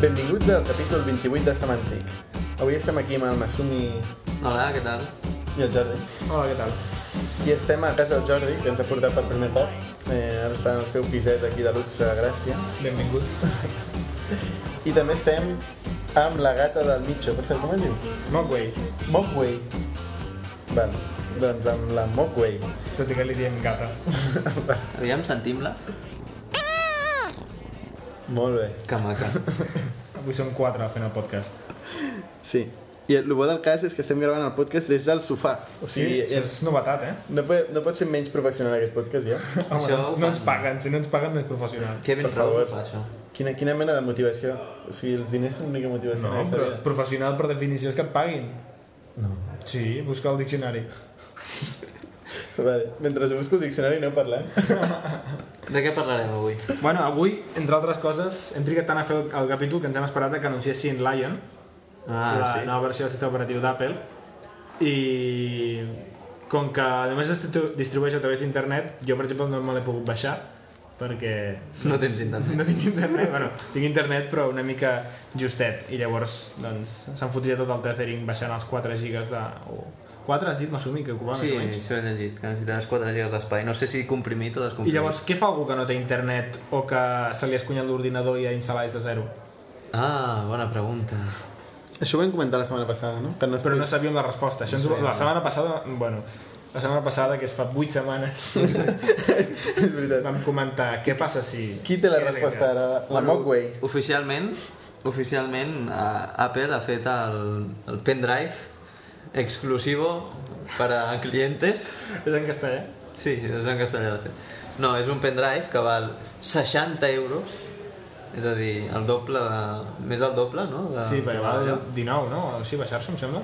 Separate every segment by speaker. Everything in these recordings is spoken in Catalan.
Speaker 1: benvinguts al capítol 28 de Semantic. Avui estem aquí amb el Masumi
Speaker 2: Hola, què tal?
Speaker 1: i el Jordi.
Speaker 3: Hola, què tal?
Speaker 1: I estem a casa del Jordi, que ens ha portat per primer cop. Eh, ara està en el seu piset aquí de luxe a Gràcia.
Speaker 3: Benvinguts.
Speaker 1: I també estem amb la gata del Mitxo. Per cert, com es diu?
Speaker 3: Mogwai,
Speaker 1: Mokway. Vale, doncs amb la Mokway.
Speaker 3: tot i que li diem gata.
Speaker 2: Aviam, sentim-la.
Speaker 1: Molt bé.
Speaker 2: Que maca.
Speaker 3: Avui som quatre fent el podcast.
Speaker 1: Sí. I el, el bo del cas és que estem gravant el podcast des del sofà. O sigui,
Speaker 3: sí, és novetat, eh?
Speaker 1: no, pot, no pot ser menys professional aquest podcast, ja?
Speaker 3: Home,
Speaker 2: Això
Speaker 3: no, ens-
Speaker 2: ho
Speaker 3: no ens
Speaker 2: fan.
Speaker 3: paguen, si no ens paguen no és professional.
Speaker 2: Kevin
Speaker 1: Per
Speaker 2: Rose
Speaker 1: favor.
Speaker 2: ho fa, això.
Speaker 1: Quina, quina mena de motivació? O sigui, els diners són l'única motivació
Speaker 3: No,
Speaker 1: en aquesta
Speaker 3: però
Speaker 1: vida.
Speaker 3: professional per definició és que et paguin.
Speaker 1: No.
Speaker 3: Sí, busca el diccionari.
Speaker 1: Vale. Mentre busco el diccionari no parlem.
Speaker 2: De què parlarem avui?
Speaker 3: Bueno, avui, entre altres coses, hem trigat tant a fer el, el capítol que ens hem esperat a que anunciessin Lion,
Speaker 2: Ah,
Speaker 3: la
Speaker 2: sí.
Speaker 3: nova versió del sistema operatiu d'Apple, i com que només es distribu- distribueix a través d'internet, jo, per exemple, no me l'he pogut baixar, perquè
Speaker 2: No tens internet.
Speaker 3: No tinc internet, bueno, tinc internet però una mica justet i llavors doncs s'han fotut tot el tethering baixant els 4 gigas de... O... 4 has dit, m'assumi, que ocupava
Speaker 2: Sí,
Speaker 3: més o menys.
Speaker 2: això he llegit, que necessitaràs 4 gigas d'espai. No sé si comprimit o
Speaker 3: I
Speaker 2: descomprimit.
Speaker 3: llavors, què fa algú que no té internet o que se li ha escunyat l'ordinador i ha instal·lat des de zero?
Speaker 2: Ah, bona pregunta.
Speaker 1: Això ho vam comentar la setmana passada, no? Que no
Speaker 3: Però no sabíem la resposta. Això ens... ho- La setmana passada, bueno, la setmana passada, que es fa 8 setmanes,
Speaker 1: és veritat.
Speaker 3: vam comentar què passa si...
Speaker 1: Qui té la
Speaker 3: què és
Speaker 1: resposta
Speaker 3: aquest
Speaker 1: ara? La Mokway.
Speaker 2: Oficialment, oficialment eh, Apple ha fet el, el pendrive exclusivo per a clientes.
Speaker 3: cas? eh? És en castellà?
Speaker 2: Sí, és en castellà, de fet. No, és un pendrive que val 60 euros, és a dir, el doble, de, més del doble, no? De,
Speaker 3: Sí, perquè
Speaker 2: de
Speaker 3: va
Speaker 2: allò.
Speaker 3: 19, no? O així, baixar-se, em sembla.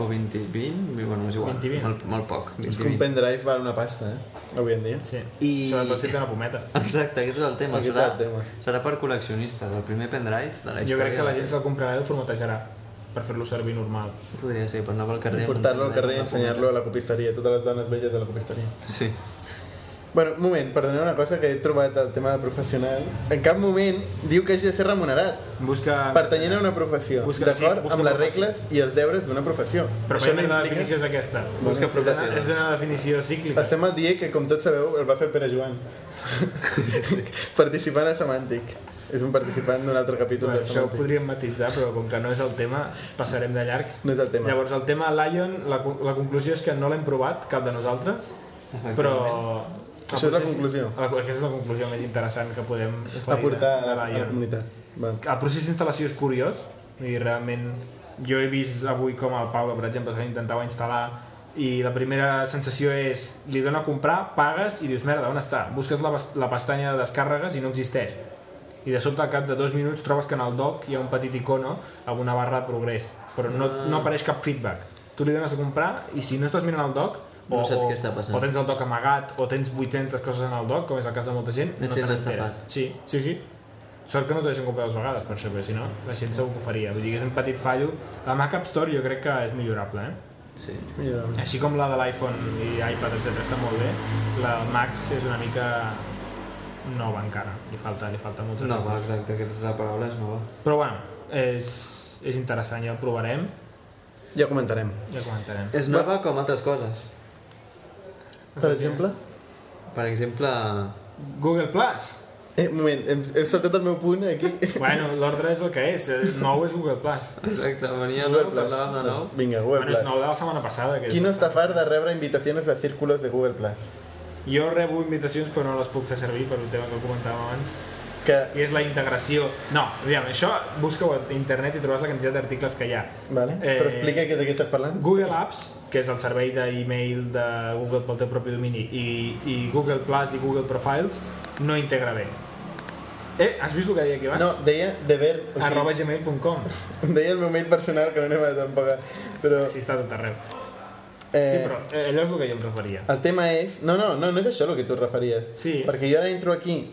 Speaker 2: O 20, 20, bueno, és igual,
Speaker 3: 20, 20.
Speaker 2: Molt, molt poc. 20,
Speaker 1: És que un
Speaker 2: 20.
Speaker 1: pendrive val una pasta, eh? Avui en dia.
Speaker 3: Sí.
Speaker 2: I-
Speaker 3: Sobretot si té una pometa.
Speaker 2: Exacte, aquest és el tema.
Speaker 1: Aquest
Speaker 2: Serà,
Speaker 1: és el tema.
Speaker 2: serà per col·leccionistes, el primer pendrive de la història.
Speaker 3: Jo crec que la gent se'l comprarà i el formatejarà per fer-lo servir normal.
Speaker 2: Podria ser, per anar pel carrer... amb un
Speaker 1: Portar-lo al
Speaker 2: pendrive,
Speaker 1: carrer i
Speaker 2: una
Speaker 1: ensenyar-lo a la copisteria, totes les dones velles de la copisteria.
Speaker 2: pometa. Sí.
Speaker 1: Bueno, un moment, perdoneu una cosa que he trobat al tema de professional. En cap moment diu que hagi de ser remunerat.
Speaker 3: Ah, Busca...
Speaker 1: Pertanyent a una professió,
Speaker 3: Busca- sí,
Speaker 1: d'acord
Speaker 3: busca
Speaker 1: amb les
Speaker 3: professió.
Speaker 1: regles i els deures d'una professió.
Speaker 3: Però això no la definició és aquesta.
Speaker 2: Busca professió.
Speaker 3: És una definició cíclica.
Speaker 1: Estem al dia que, com tots sabeu, el va fer Pere Joan. participant a Semàntic. És un participant d'un altre capítol
Speaker 3: Bueno,
Speaker 1: de
Speaker 3: això ho
Speaker 1: Semàntic.
Speaker 3: podríem matitzar, però com que no és el tema, passarem de llarg.
Speaker 1: No és el tema.
Speaker 3: Llavors, el tema Lion, la, co- la conclusió és que no l'hem provat, cap de nosaltres, però...
Speaker 1: Això és la
Speaker 3: potser sí-
Speaker 1: conclusió.
Speaker 3: la- Aquesta és la conclusió més interessant que podem oferir
Speaker 1: Aportar
Speaker 3: de,
Speaker 1: a
Speaker 3: de
Speaker 1: la
Speaker 3: Lion.
Speaker 1: comunitat. Val.
Speaker 3: el procés d'instal·lació és curiós i realment jo he vist avui com el Pablo, per exemple, que intentava instal·lar i la primera sensació és li dona a comprar, pagues i dius merda, on està? Busques la, bas- la pestanya de descàrregues i no existeix i de sobte al cap de dos minuts trobes que en el doc hi ha un petit icono amb una barra de progrés però no,
Speaker 2: Ah.
Speaker 3: no apareix cap feedback tu li dones a comprar i si no estàs mirant el doc o,
Speaker 2: No saps
Speaker 3: o-
Speaker 2: què està passant.
Speaker 3: o tens el doc amagat o tens 800 coses en el doc com és el cas de molta gent
Speaker 2: Et
Speaker 3: no
Speaker 2: sents
Speaker 3: te n'enteres.
Speaker 2: estafat.
Speaker 3: Sí, sí, sí. Sort que no t'ho deixen comprar dues vegades, per això, perquè si no, la gent segur que ho faria. Vull dir que és un petit fallo. La Mac App Store jo crec que és millorable, eh?
Speaker 2: Sí.
Speaker 1: Millorable.
Speaker 3: Així com la de l'iPhone i iPad, etc està molt bé, la Mac és una mica nova encara. Li falta, li falta moltes
Speaker 2: No, va,
Speaker 3: coses.
Speaker 2: exacte, aquesta és la paraula, és nova.
Speaker 3: Però bueno, és, és interessant, ja ho provarem,
Speaker 1: Ja comentarem.
Speaker 3: ja comentarem.
Speaker 2: És nova com altres coses.
Speaker 1: Per exemple...
Speaker 2: Per exemple...
Speaker 3: Google Plus!
Speaker 1: Eh, un moment, hem, hem saltat el meu punt aquí.
Speaker 3: Bueno, l'ordre és el que és, el nou és Google Plus.
Speaker 2: Exacte, venia
Speaker 1: Google
Speaker 2: nou,
Speaker 1: Plus.
Speaker 2: parlàvem de nou.
Speaker 1: Doncs vinga, Google
Speaker 3: Bueno, és
Speaker 1: Plus.
Speaker 3: nou de la setmana passada. Que és
Speaker 1: Qui no
Speaker 3: bastant.
Speaker 1: està fart de rebre invitacions a círculos de Google Plus?
Speaker 3: Jo rebo invitacions però no les puc fer servir per un tema que comentàvem abans
Speaker 1: Que
Speaker 3: i és la integració... No, aviam, això busca-ho a internet i trobaràs la quantitat d'articles que hi ha.
Speaker 1: Vale.
Speaker 3: Eh,
Speaker 1: Però explica que de què estàs parlant.
Speaker 3: Google Apps, que és el servei d'email de Google pel teu propi domini, i, i Google Plus i Google Profiles, no integra bé. Eh, has vist el que deia aquí abans?
Speaker 1: No, deia deber... O sigui,
Speaker 3: Arroba gmail.com,
Speaker 1: Deia el meu mail personal, que no anem a tampoc... a- Però...
Speaker 3: si està a tot arreu.
Speaker 1: Eh,
Speaker 3: Sí, però eh, allò és el que jo em referia.
Speaker 1: El tema és... No, no, no, no és això el que tu et referies.
Speaker 3: Sí.
Speaker 1: Perquè jo ara entro aquí...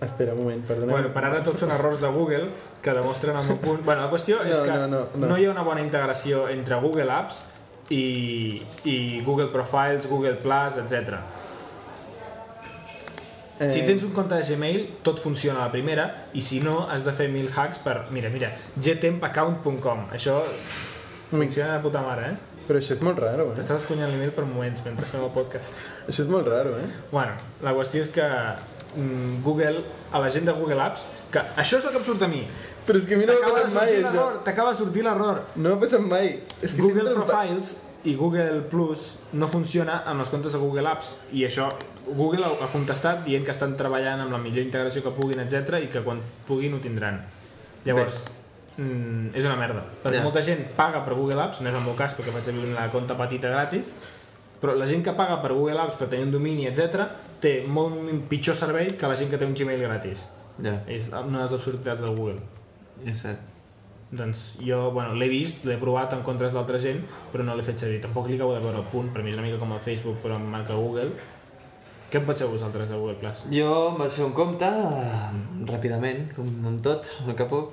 Speaker 1: Ah, Espera un moment, perdona.
Speaker 3: Bueno, per ara tots són errors de Google que demostren el meu punt. Bueno, la qüestió és
Speaker 1: No,
Speaker 3: que
Speaker 1: no, no, no.
Speaker 3: hi ha una bona integració entre Google Apps i, i Google Profiles, Google Plus, etc.
Speaker 1: Eh.
Speaker 3: Si tens un compte de Gmail, tot funciona a la primera, i si no, has de fer mil hacks per... Mira, mira, gtempaccount.com. Això
Speaker 1: Mm.
Speaker 3: funciona de puta mare, eh?
Speaker 1: Però això és molt raro, eh?
Speaker 3: T'estàs escunyant l'email per moments mentre fem el podcast.
Speaker 1: Això és molt raro, eh?
Speaker 3: Bueno, la qüestió és que mm, Google, a la gent de Google Apps, que això és el que em surt a mi.
Speaker 1: Però és que a mi no m'ha
Speaker 3: T'acaba de
Speaker 1: passat mai,
Speaker 3: sortir
Speaker 1: això.
Speaker 3: l'error, t'acaba de sortir l'error.
Speaker 1: No m'ha passat mai. És que
Speaker 3: Google
Speaker 1: sempre em pa-
Speaker 3: Profiles i Google Plus no funciona amb els comptes de Google Apps i això Google ha ha contestat dient que estan treballant amb la millor integració que puguin, etc i que quan puguin ho tindran. Llavors, mm, és una merda, perquè
Speaker 2: Ja.
Speaker 3: molta gent paga per Google Apps, no és el meu cas perquè faig servir una conta petita gratis, però la gent que paga per Google Apps per tenir un domini, etc té molt pitjor servei que la gent que té un Gmail gratis.
Speaker 2: Ja,
Speaker 3: És una de les absurditats del Google.
Speaker 2: és cert.
Speaker 3: Doncs jo, bueno, l'he vist, l'he provat en contres d'altra gent, però no l'he fet servir. Tampoc li acabo de veure el punt, per mi és una mica com el Facebook, però amb marca Google. Què en penseu vosaltres de Google Plus?
Speaker 2: Jo em vaig fer un compte eh, ràpidament, com amb tot, al cap poc,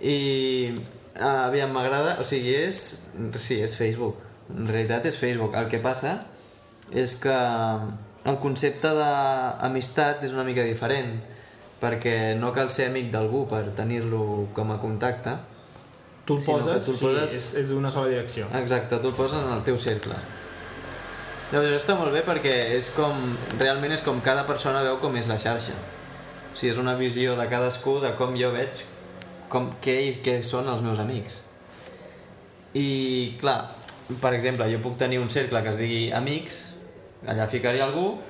Speaker 2: i eh, aviam, m'agrada, o sigui, és... Sí, és Facebook. En realitat és Facebook. El que passa és que eh, el concepte d'amistat és una mica diferent, perquè no cal ser amic d'algú per tenir-lo com a contacte.
Speaker 3: Tu el
Speaker 2: Sí, no,
Speaker 3: poses,
Speaker 2: que tu el
Speaker 3: sí,
Speaker 2: poses- Ah,
Speaker 3: és, és d'una sola direcció.
Speaker 2: Exacte, tu el poses en el teu cercle. Llavors això està molt bé perquè és com, realment és com cada persona veu com és la xarxa. O sigui, és una visió de cadascú de com jo veig com, què i què són els meus amics. I, clar, per exemple, jo puc tenir un cercle que es digui amics, allà ficaré algú,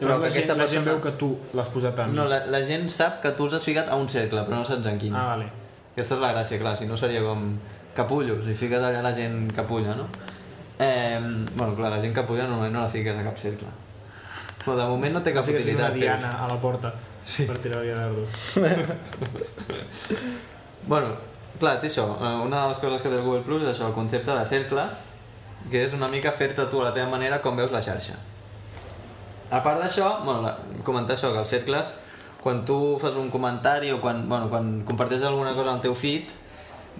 Speaker 2: però
Speaker 3: Llavors
Speaker 2: que
Speaker 3: la, gent,
Speaker 2: aquesta
Speaker 3: la gent
Speaker 2: persona...
Speaker 3: veu que tu l'has posat a mi.
Speaker 2: No, la, la gent sap que tu els has ficat a un cercle, però no saps en quin.
Speaker 3: Ah, vale.
Speaker 2: Aquesta és la gràcia, clar, si no seria com capullos, i fiques allà la gent capulla, no? Eh, bueno, clar, la gent capulla normalment no la fiques a cap cercle. Però de moment no té cap
Speaker 3: Sí que sigui una
Speaker 2: utilitat. fer-ho.
Speaker 3: diana a la porta sí. per tirar la dardos.
Speaker 2: Bueno, clar, té això. eh, Una de les coses que té el Google Plus és això, el concepte de cercles, que és una mica fer-te tu a la teva manera com veus la xarxa. A part d'això, bueno, la, comentar això, que els cercles, quan tu fas un comentari o quan, bueno, quan comparteixes alguna cosa al teu feed,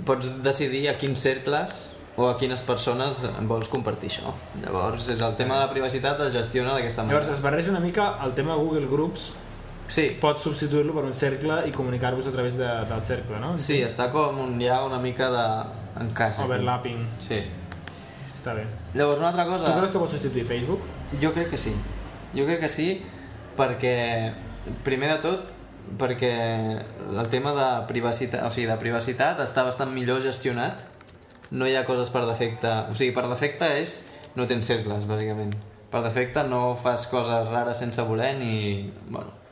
Speaker 2: pots decidir a quins cercles o a quines persones vols compartir això. Llavors, és el tema de la privacitat es gestiona d'aquesta
Speaker 3: Llavors
Speaker 2: manera.
Speaker 3: es barreja una mica el tema Google Groups,
Speaker 2: Sí,
Speaker 3: pots substituir-lo per un cercle i comunicar-vos a través de, del cercle, no?
Speaker 2: sí, està com un, hi ha una mica de encaix. aquí.
Speaker 3: Overlapping,
Speaker 2: Sí.
Speaker 3: està bé.
Speaker 2: Llavors, una altra
Speaker 3: Tu
Speaker 2: cosa...
Speaker 3: creus que pots substituir Facebook?
Speaker 2: Jo crec que sí. Jo crec que sí perquè, primer de tot, perquè el tema de privacitat, o sigui, de privacitat està bastant millor gestionat. No hi ha coses per defecte. O sigui, per defecte és no tens cercles, bàsicament. Per defecte no fas coses rares sense voler ni... Bueno.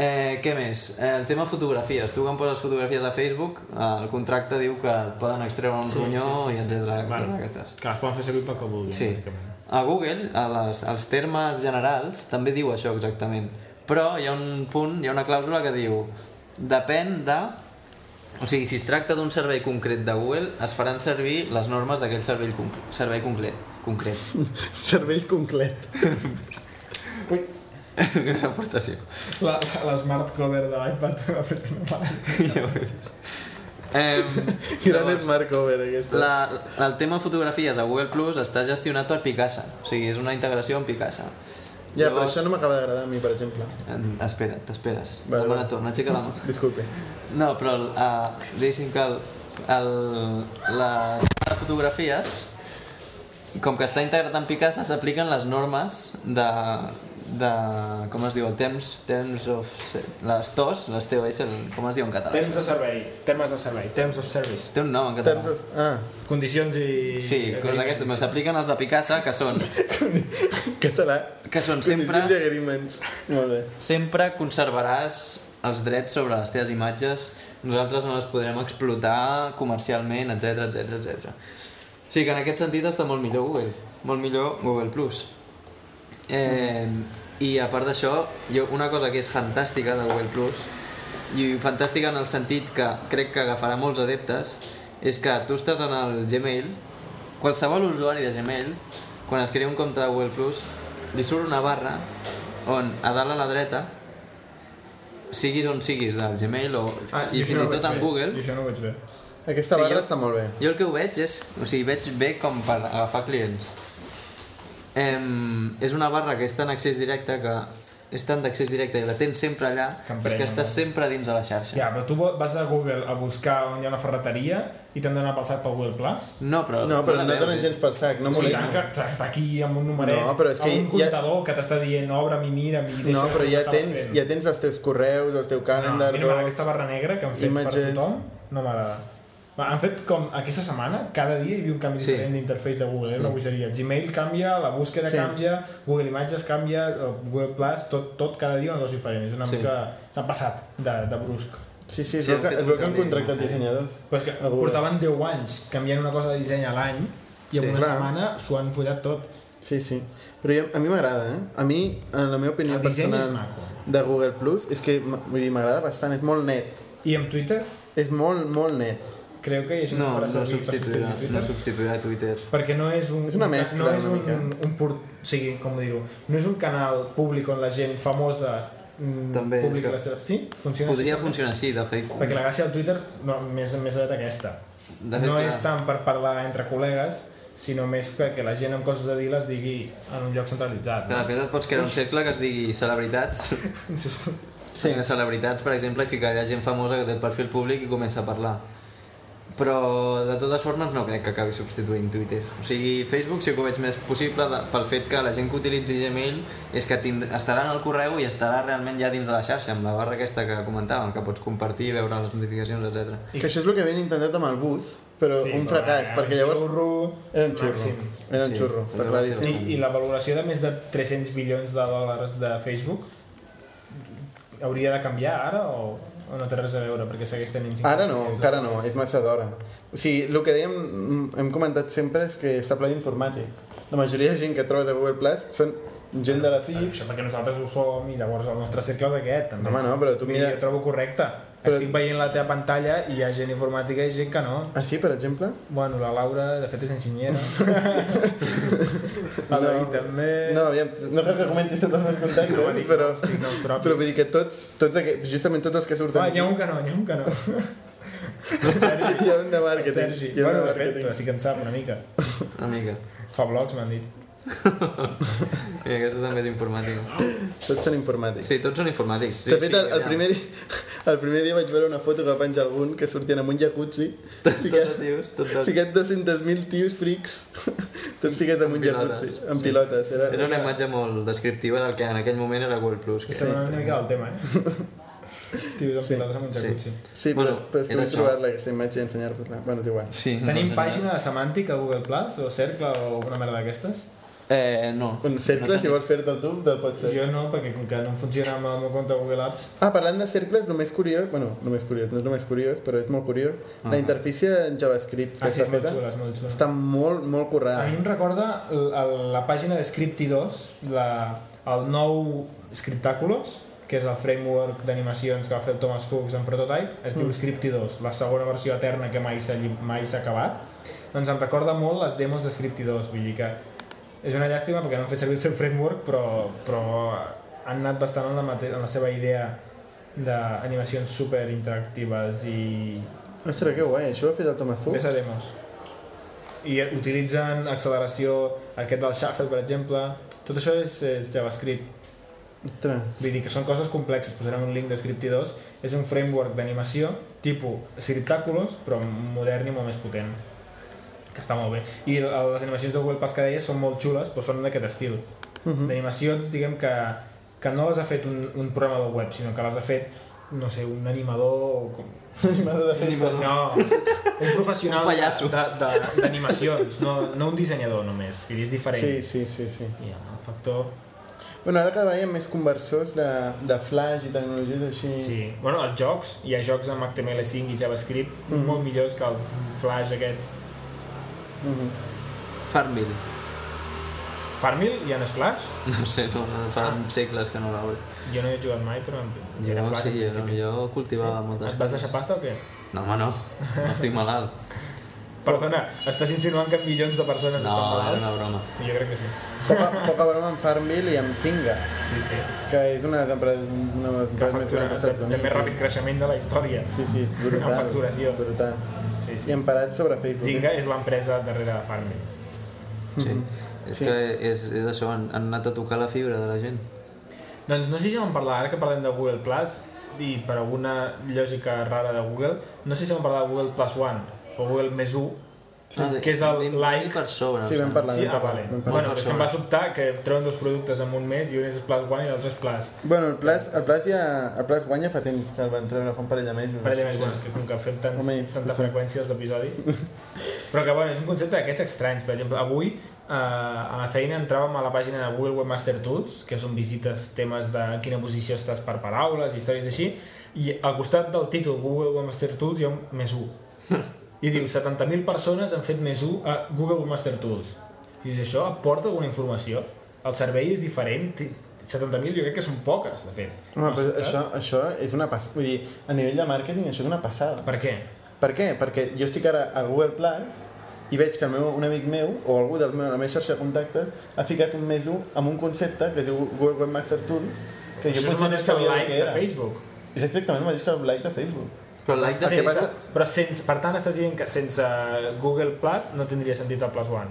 Speaker 2: Eh, què més? Eh, el tema fotografies. Tu quan poses fotografies a Facebook, eh, el contracte diu que et poden extreure un sí, ronyó sí, sí, i etc. Sí, sí.
Speaker 3: Bueno,
Speaker 2: aquestes.
Speaker 3: que les poden fer servir pel que vulguin.
Speaker 2: Sí.
Speaker 3: bàsicament.
Speaker 2: A Google, a les, als termes generals, també diu això exactament. Però hi ha un punt, hi ha una clàusula que diu depèn de... O sigui, si es tracta d'un servei concret de Google, es faran servir les normes d'aquell servei, conc servei concret. concret.
Speaker 1: Cervell complet.
Speaker 4: Ui,
Speaker 2: Gran aportació.
Speaker 4: la, la, la smart cover de l'iPad m'ha fet una mala.
Speaker 2: Ja ho veus. Em,
Speaker 1: Gran
Speaker 2: llavors-
Speaker 1: Smart Cover, aquesta.
Speaker 2: La, la- el tema fotografies a Google Plus està gestionat per Picasa, o sigui, és una integració amb Picasa.
Speaker 1: Ja, però això no m'acaba d'agradar a mi, per exemple.
Speaker 2: Em, Espera't, t'esperes.
Speaker 1: Vale,
Speaker 2: Vale, no me
Speaker 1: vale.
Speaker 2: n'atorna, aixeca la mà.
Speaker 1: Disculpe.
Speaker 2: No, però el, uh, diguéssim que el, el, la, les fotografies, com que està integrat en Picasa, s'apliquen les normes de, de... com es diu? El temps... temps of... les TOS, les TOS, el- com es diu en català?
Speaker 3: Temps de servei, temes de servei, temps of service.
Speaker 2: Té un nom en
Speaker 1: Terms
Speaker 2: català.
Speaker 1: of... Ah,
Speaker 3: Condicions i...
Speaker 2: Sí, coses d'aquestes, però s'apliquen els de Picasa, que són,
Speaker 1: català.
Speaker 2: que són sempre...
Speaker 1: Condicions i agreements. Molt bé.
Speaker 2: sempre conservaràs els drets sobre les teves imatges, nosaltres no les podrem explotar comercialment, etc etc etc. O sigui que en aquest sentit està molt millor Google, molt millor Google+. Plus. Eh, I a part d'això, jo una cosa que és fantàstica de Google+, Plus, i fantàstica en el sentit que crec que agafarà molts adeptes, és que tu estàs en el Gmail, qualsevol usuari de Gmail, quan es crea un compte de Google+, Plus, li surt una barra on a dalt a la dreta siguis on siguis del Gmail o,
Speaker 3: Ah,
Speaker 2: i fins i tot en Google
Speaker 3: Jo això no ho veig bé.
Speaker 1: Aquesta
Speaker 2: Sí,
Speaker 1: barra
Speaker 2: jo-
Speaker 1: està molt bé.
Speaker 2: jo el que ho veig és... O sigui, veig bé com per agafar clients. Em, és una barra que està en accés directe que és tant d'accés directe i la tens sempre allà,
Speaker 3: Que em
Speaker 2: és que
Speaker 3: prenyen,
Speaker 2: estàs
Speaker 3: no?
Speaker 2: sempre dins de la xarxa.
Speaker 3: Ja, però tu vas a Google a buscar on hi ha una ferreteria i t'han d'anar pel sac pel Google Plus?
Speaker 2: No, però...
Speaker 1: No, però
Speaker 2: la
Speaker 1: no
Speaker 2: veus,
Speaker 1: donen
Speaker 2: és-
Speaker 1: gens pel sac, no
Speaker 3: No sí, tant,
Speaker 1: molesta.
Speaker 3: que està aquí amb un numeret,
Speaker 1: No, però és que
Speaker 3: amb un
Speaker 1: ja-
Speaker 3: comptador que t'està dient obre'm i mira'm i deixa'm
Speaker 1: No, però ja tens, ja
Speaker 3: tens
Speaker 1: tens els teus correus, el teu
Speaker 3: no, a mi no
Speaker 1: calendar,
Speaker 3: m'agrada
Speaker 1: docs.
Speaker 3: aquesta barra negra que han fet
Speaker 1: imatges.
Speaker 3: per tothom, no m'agrada. Va, Han fet com aquesta setmana, cada dia hi havia un canvi
Speaker 2: Sí. Mm.
Speaker 3: diferent d'interface de Google, eh? una bogeria. Gmail canvia, la búsqueda
Speaker 1: Sí.
Speaker 3: canvia, Google Imatges canvia, eh, Google Plus, tot, tot cada dia una cosa diferent. És una
Speaker 2: Sí.
Speaker 3: mica... S'han passat de, de brusc.
Speaker 1: Sí, sí, es
Speaker 2: Sí,
Speaker 1: veu
Speaker 2: han
Speaker 1: que,
Speaker 2: fet
Speaker 1: es
Speaker 2: un
Speaker 1: veu que han
Speaker 2: canvi
Speaker 1: contractat
Speaker 2: molt heavy.
Speaker 1: dissenyadors.
Speaker 3: Però és que
Speaker 1: A Google.
Speaker 3: portaven 10 anys canviant una cosa de disseny a l'any i en
Speaker 2: Sí,
Speaker 3: una
Speaker 1: clar.
Speaker 3: setmana s'ho han follat tot.
Speaker 1: Sí, sí. Però jo, a mi m'agrada, eh? A mi, en la meva opinió
Speaker 3: El disseny és
Speaker 1: personal
Speaker 3: maco.
Speaker 1: de Google Plus, és que m- vull dir, m'agrada bastant, és molt net.
Speaker 3: I amb Twitter,
Speaker 1: És molt, molt net.
Speaker 3: creu que hi ha gent
Speaker 2: No,
Speaker 3: que farà
Speaker 2: no
Speaker 3: servir per substituir
Speaker 2: substituirà, no
Speaker 3: Twitter?
Speaker 2: substituirà Twitter.
Speaker 3: perquè no és un...
Speaker 1: És una mescla,
Speaker 3: no és
Speaker 1: una
Speaker 3: un,
Speaker 1: mica.
Speaker 3: un port, o sigui, com dir-ho, no és un canal públic on la gent famosa mm,
Speaker 2: També és
Speaker 3: publica
Speaker 2: que-
Speaker 3: la seva... Sí? Funciona
Speaker 2: Podria
Speaker 3: així?
Speaker 2: funcionar així, de fet.
Speaker 3: Perquè la gràcia del Twitter no, més, més aviat aquesta.
Speaker 2: De fet,
Speaker 3: no
Speaker 2: clar.
Speaker 3: és tant per parlar entre col·legues, sinó més que, que la gent amb coses a dir les digui en un lloc centralitzat.
Speaker 2: Que de fet et pots crear un cercle que es digui celebritats.
Speaker 3: Just-
Speaker 2: Sí. Celebritats, per exemple, i ficar allà gent famosa que té el perfil públic i comença a parlar. Però, de totes formes, no crec que acabi substituint Twitter. O sigui, Facebook sí que ho veig més possible de, pel fet que la gent que utilitzi Gmail és que tind... estarà en el correu i estarà realment ja dins de la xarxa, amb la barra aquesta que comentàvem, que pots compartir, veure les notificacions, etc.
Speaker 1: Que això és el que havien intentat amb el bus, però
Speaker 3: Sí,
Speaker 1: un
Speaker 3: però
Speaker 1: fracàs,
Speaker 3: era
Speaker 1: perquè
Speaker 3: un
Speaker 1: llavors...
Speaker 3: Xurro,
Speaker 1: Era un xurro.
Speaker 3: màxim.
Speaker 1: Era un
Speaker 2: Sí,
Speaker 1: xurro, està
Speaker 2: era
Speaker 1: claríssim.
Speaker 2: bastant.
Speaker 3: I, I la valoració de més de 300 bilions de dòlars de Facebook hauria de canviar ara o, o no té res a veure perquè segueix tenint... 50
Speaker 1: Ara no,
Speaker 3: milions de
Speaker 1: encara no,
Speaker 3: dòlars?
Speaker 1: és massa d'hora. O sigui, el que dèiem, mm, hem comentat sempre és que està ple d'informàtics. La majoria de gent que troba de Google Plus són gent de la FIC.
Speaker 3: Això perquè nosaltres ho som i llavors el nostre cercle és aquest. També.
Speaker 1: Home, no, però tu
Speaker 3: Mira,
Speaker 1: mira...
Speaker 3: jo trobo correcte.
Speaker 1: Però-
Speaker 3: Estic veient la teva pantalla i hi ha gent informàtica i gent que no.
Speaker 1: Ah, sí, per exemple?
Speaker 3: Bueno, la Laura, de fet, és enginyera.
Speaker 1: No.
Speaker 3: el David també...
Speaker 1: No, aviam, no cal que comentis tots els meus contactes,
Speaker 3: Eh, No, dic,
Speaker 1: però...
Speaker 3: estic dels propis.
Speaker 1: Però vull dir que tots, tots aqu... justament tots els que surten...
Speaker 3: Va, n'hi ha un que no, n'hi ha un que no.
Speaker 1: Sergi. Hi ha un de màrqueting.
Speaker 3: Sergi.
Speaker 1: Hi ha un
Speaker 3: Bueno,
Speaker 1: de
Speaker 3: de fet,
Speaker 1: màrqueting.
Speaker 3: però sí que en sap una mica.
Speaker 2: Una mica.
Speaker 3: Fa blogs, m'han dit.
Speaker 2: I aquesta també és informàtica.
Speaker 3: eh.
Speaker 1: Tots són informàtics.
Speaker 2: Sí, tots són informàtics. Sí,
Speaker 1: de fet,
Speaker 2: sí,
Speaker 1: el, el,
Speaker 2: ja.
Speaker 1: primer dia, el primer dia vaig veure una foto que va penjar algun que sortien amb un jacuzzi
Speaker 2: Tot
Speaker 1: ficat,
Speaker 2: de tios, tot de...
Speaker 1: ficat 200.000 tios frics tots ficats amb
Speaker 2: Amb
Speaker 1: un jacuzzi
Speaker 2: pilotes.
Speaker 1: amb pilotes era,
Speaker 2: Era una imatge molt descriptiva del que en aquell moment era Google Plus. Que...
Speaker 3: Estem sí. una mica del tema, eh? Tios amb pilotes amb un
Speaker 2: Sí.
Speaker 3: jacuzzi.
Speaker 1: sí, però,
Speaker 2: Bueno,
Speaker 1: però és que
Speaker 2: era
Speaker 1: vull
Speaker 2: això.
Speaker 1: trobar-la aquesta imatge i ensenyar-vos-la bueno, és igual
Speaker 2: Sí, no
Speaker 3: Tenim
Speaker 2: sé,
Speaker 3: pàgina de semàntic a Google Plus o Cercle o una merda d'aquestes?
Speaker 2: Eh, no.
Speaker 1: un cercle, si vols fer-te el tu, del pots fer
Speaker 3: Jo no, perquè com que no em funciona amb el meu compte a Google Apps,
Speaker 1: Ah, parlant de cercles, el més curiós, bueno, el més curiós, no és el més curiós, però és molt curiós, la interfície en JavaScript que
Speaker 3: ah, sí,
Speaker 1: està
Speaker 3: és molt
Speaker 1: feta
Speaker 3: xula, és molt xula.
Speaker 1: està molt, molt
Speaker 3: A mi
Speaker 1: currada.
Speaker 3: em recorda l- el- la pàgina de Scripty2, la, el nou Scriptaculous, que és el framework d'animacions que va fer el Thomas Fuchs en Prototype, es diu Scripty2, la segona versió eterna que mai s'ha lli- mai s'ha acabat. Doncs em recorda molt les demos de Scripty2, vull dir que és una llàstima perquè no han fet servir el seu framework, però, però han anat bastant en la, mate en la seva idea d'animacions super interactives i
Speaker 1: Ostres, que guai, això ho ha fet el Thomas Fuchs?
Speaker 3: Ves a demos. I utilitzen acceleració, aquest del shuffle, per exemple. Tot això és, és JavaScript.
Speaker 1: Ostres,
Speaker 3: Vull dir que són coses complexes. Posarem un link de Scripty 2. És un framework d'animació tipus Scriptaculous, però modern i molt més potent. Que està molt bé. I el- les animacions de Google Pass que deies són molt xules, però són d'aquest estil. Uh -huh. D'animacions, diguem que, que no les ha fet un, un programa de web, sinó que les ha fet no sé, un animador o com,
Speaker 1: animador de festa.
Speaker 3: no, un professional
Speaker 2: Un pallasso.
Speaker 3: de- de- d'animacions, no, no un dissenyador només, vull dir, és diferent.
Speaker 1: Sí, sí, sí, sí.
Speaker 3: Hi ha el factor...
Speaker 1: Bueno, ara cada vegada hi ha més conversors de, de flash i tecnologies així...
Speaker 3: Sí. Bueno, els jocs, hi ha jocs amb HTML5 i JavaScript mm. molt millors que els Flash aquests.
Speaker 1: Mhm.
Speaker 2: Farmville.
Speaker 3: Farmville, ja no és Flash?
Speaker 2: No sé, no, no fa segles que no la veuré.
Speaker 3: Jo no hi he jugat mai, però em-
Speaker 2: Jo,
Speaker 3: era Flash.
Speaker 2: sí,
Speaker 3: al
Speaker 2: jo,
Speaker 3: principi.
Speaker 2: jo cultivava moltes
Speaker 3: Et vas deixar pasta o què?
Speaker 2: No, home, no. no estic malalt.
Speaker 3: Perdona, estàs insinuant que milions de persones
Speaker 2: No,
Speaker 3: estan
Speaker 2: era
Speaker 3: malalts?
Speaker 2: una broma.
Speaker 3: Jo crec que sí.
Speaker 1: Poca, poca broma amb Farmville i amb Finga,
Speaker 3: Sí, sí.
Speaker 1: que és una de les empreses, una de les
Speaker 3: Que
Speaker 1: empreses més
Speaker 3: factura,
Speaker 1: grans dels
Speaker 3: de,
Speaker 1: Estats
Speaker 3: de més
Speaker 1: Units.
Speaker 3: ràpid creixement de la història.
Speaker 1: Sí, sí, és brutal.
Speaker 3: Amb facturació.
Speaker 1: Brutal.
Speaker 3: Sí,
Speaker 1: I
Speaker 3: sí.
Speaker 1: han parat sobre Facebook. eh?
Speaker 3: Zynga és l'empresa darrere de Farmville.
Speaker 2: Sí. És
Speaker 1: Sí.
Speaker 3: Mhm.
Speaker 2: que és, és això, han, han anat a tocar la fibra de la gent.
Speaker 3: Doncs no sé si vam parlar, ara que parlem de Google Plus, i per alguna lògica rara de Google, no sé si vam parlar de Google Plus One o Google més 1, que és el like.
Speaker 2: Per sobre,
Speaker 1: Sí,
Speaker 2: em
Speaker 1: vam
Speaker 2: sembla.
Speaker 1: parlar,
Speaker 3: Sí,
Speaker 1: vam
Speaker 3: ah,
Speaker 1: parlar.
Speaker 3: vale.
Speaker 1: vam parlar.
Speaker 3: Bueno, és que em va sobtar que treuen dos productes en un mes i un és Plus One i l'altre és Plus.
Speaker 1: Bueno, el Plas, el Plas ja... El Plas guanya fa temps que el van treure fa un parell de mesos.
Speaker 3: Per allà més bons, que com que fem tants,
Speaker 1: Almenys,
Speaker 3: tanta
Speaker 1: potser.
Speaker 3: freqüència els episodis. Però que, bueno, és un concepte d'aquests estranys. Per exemple, avui eh, a la feina entràvem a la pàgina de Google Webmaster Tools, que són visites, temes de en quina posició estàs per paraules, històries així, i al costat del títol Google Webmaster Tools hi ha un més 1. I diu, 70.000 persones han fet més 1 a Google Webmaster Tools. I dius, això aporta alguna informació? El servei és diferent? Té- 70.000 jo crec que són poques, de fet.
Speaker 1: Home, però
Speaker 3: M'ha
Speaker 1: això,
Speaker 3: sobtat.
Speaker 1: això és una passada. Vull dir, a nivell de màrqueting això és una passada.
Speaker 3: Per què?
Speaker 1: Per què? Perquè jo estic ara a Google Plus i veig que el meu, un amic meu o algú del meu, la meva xarxa de contactes ha ficat un més un amb un concepte que es diu Google Webmaster Tools que
Speaker 3: Això
Speaker 1: jo
Speaker 3: és el
Speaker 1: potser no
Speaker 3: mateix que el
Speaker 1: sabia el
Speaker 3: like
Speaker 1: que
Speaker 3: de
Speaker 1: era.
Speaker 3: Facebook.
Speaker 1: És exactament el mateix que el like de Facebook.
Speaker 2: Però el like de
Speaker 3: Sense,
Speaker 1: passa-
Speaker 3: però sense, per tant estàs dient que sense Google Plus no tindria sentit el Plus One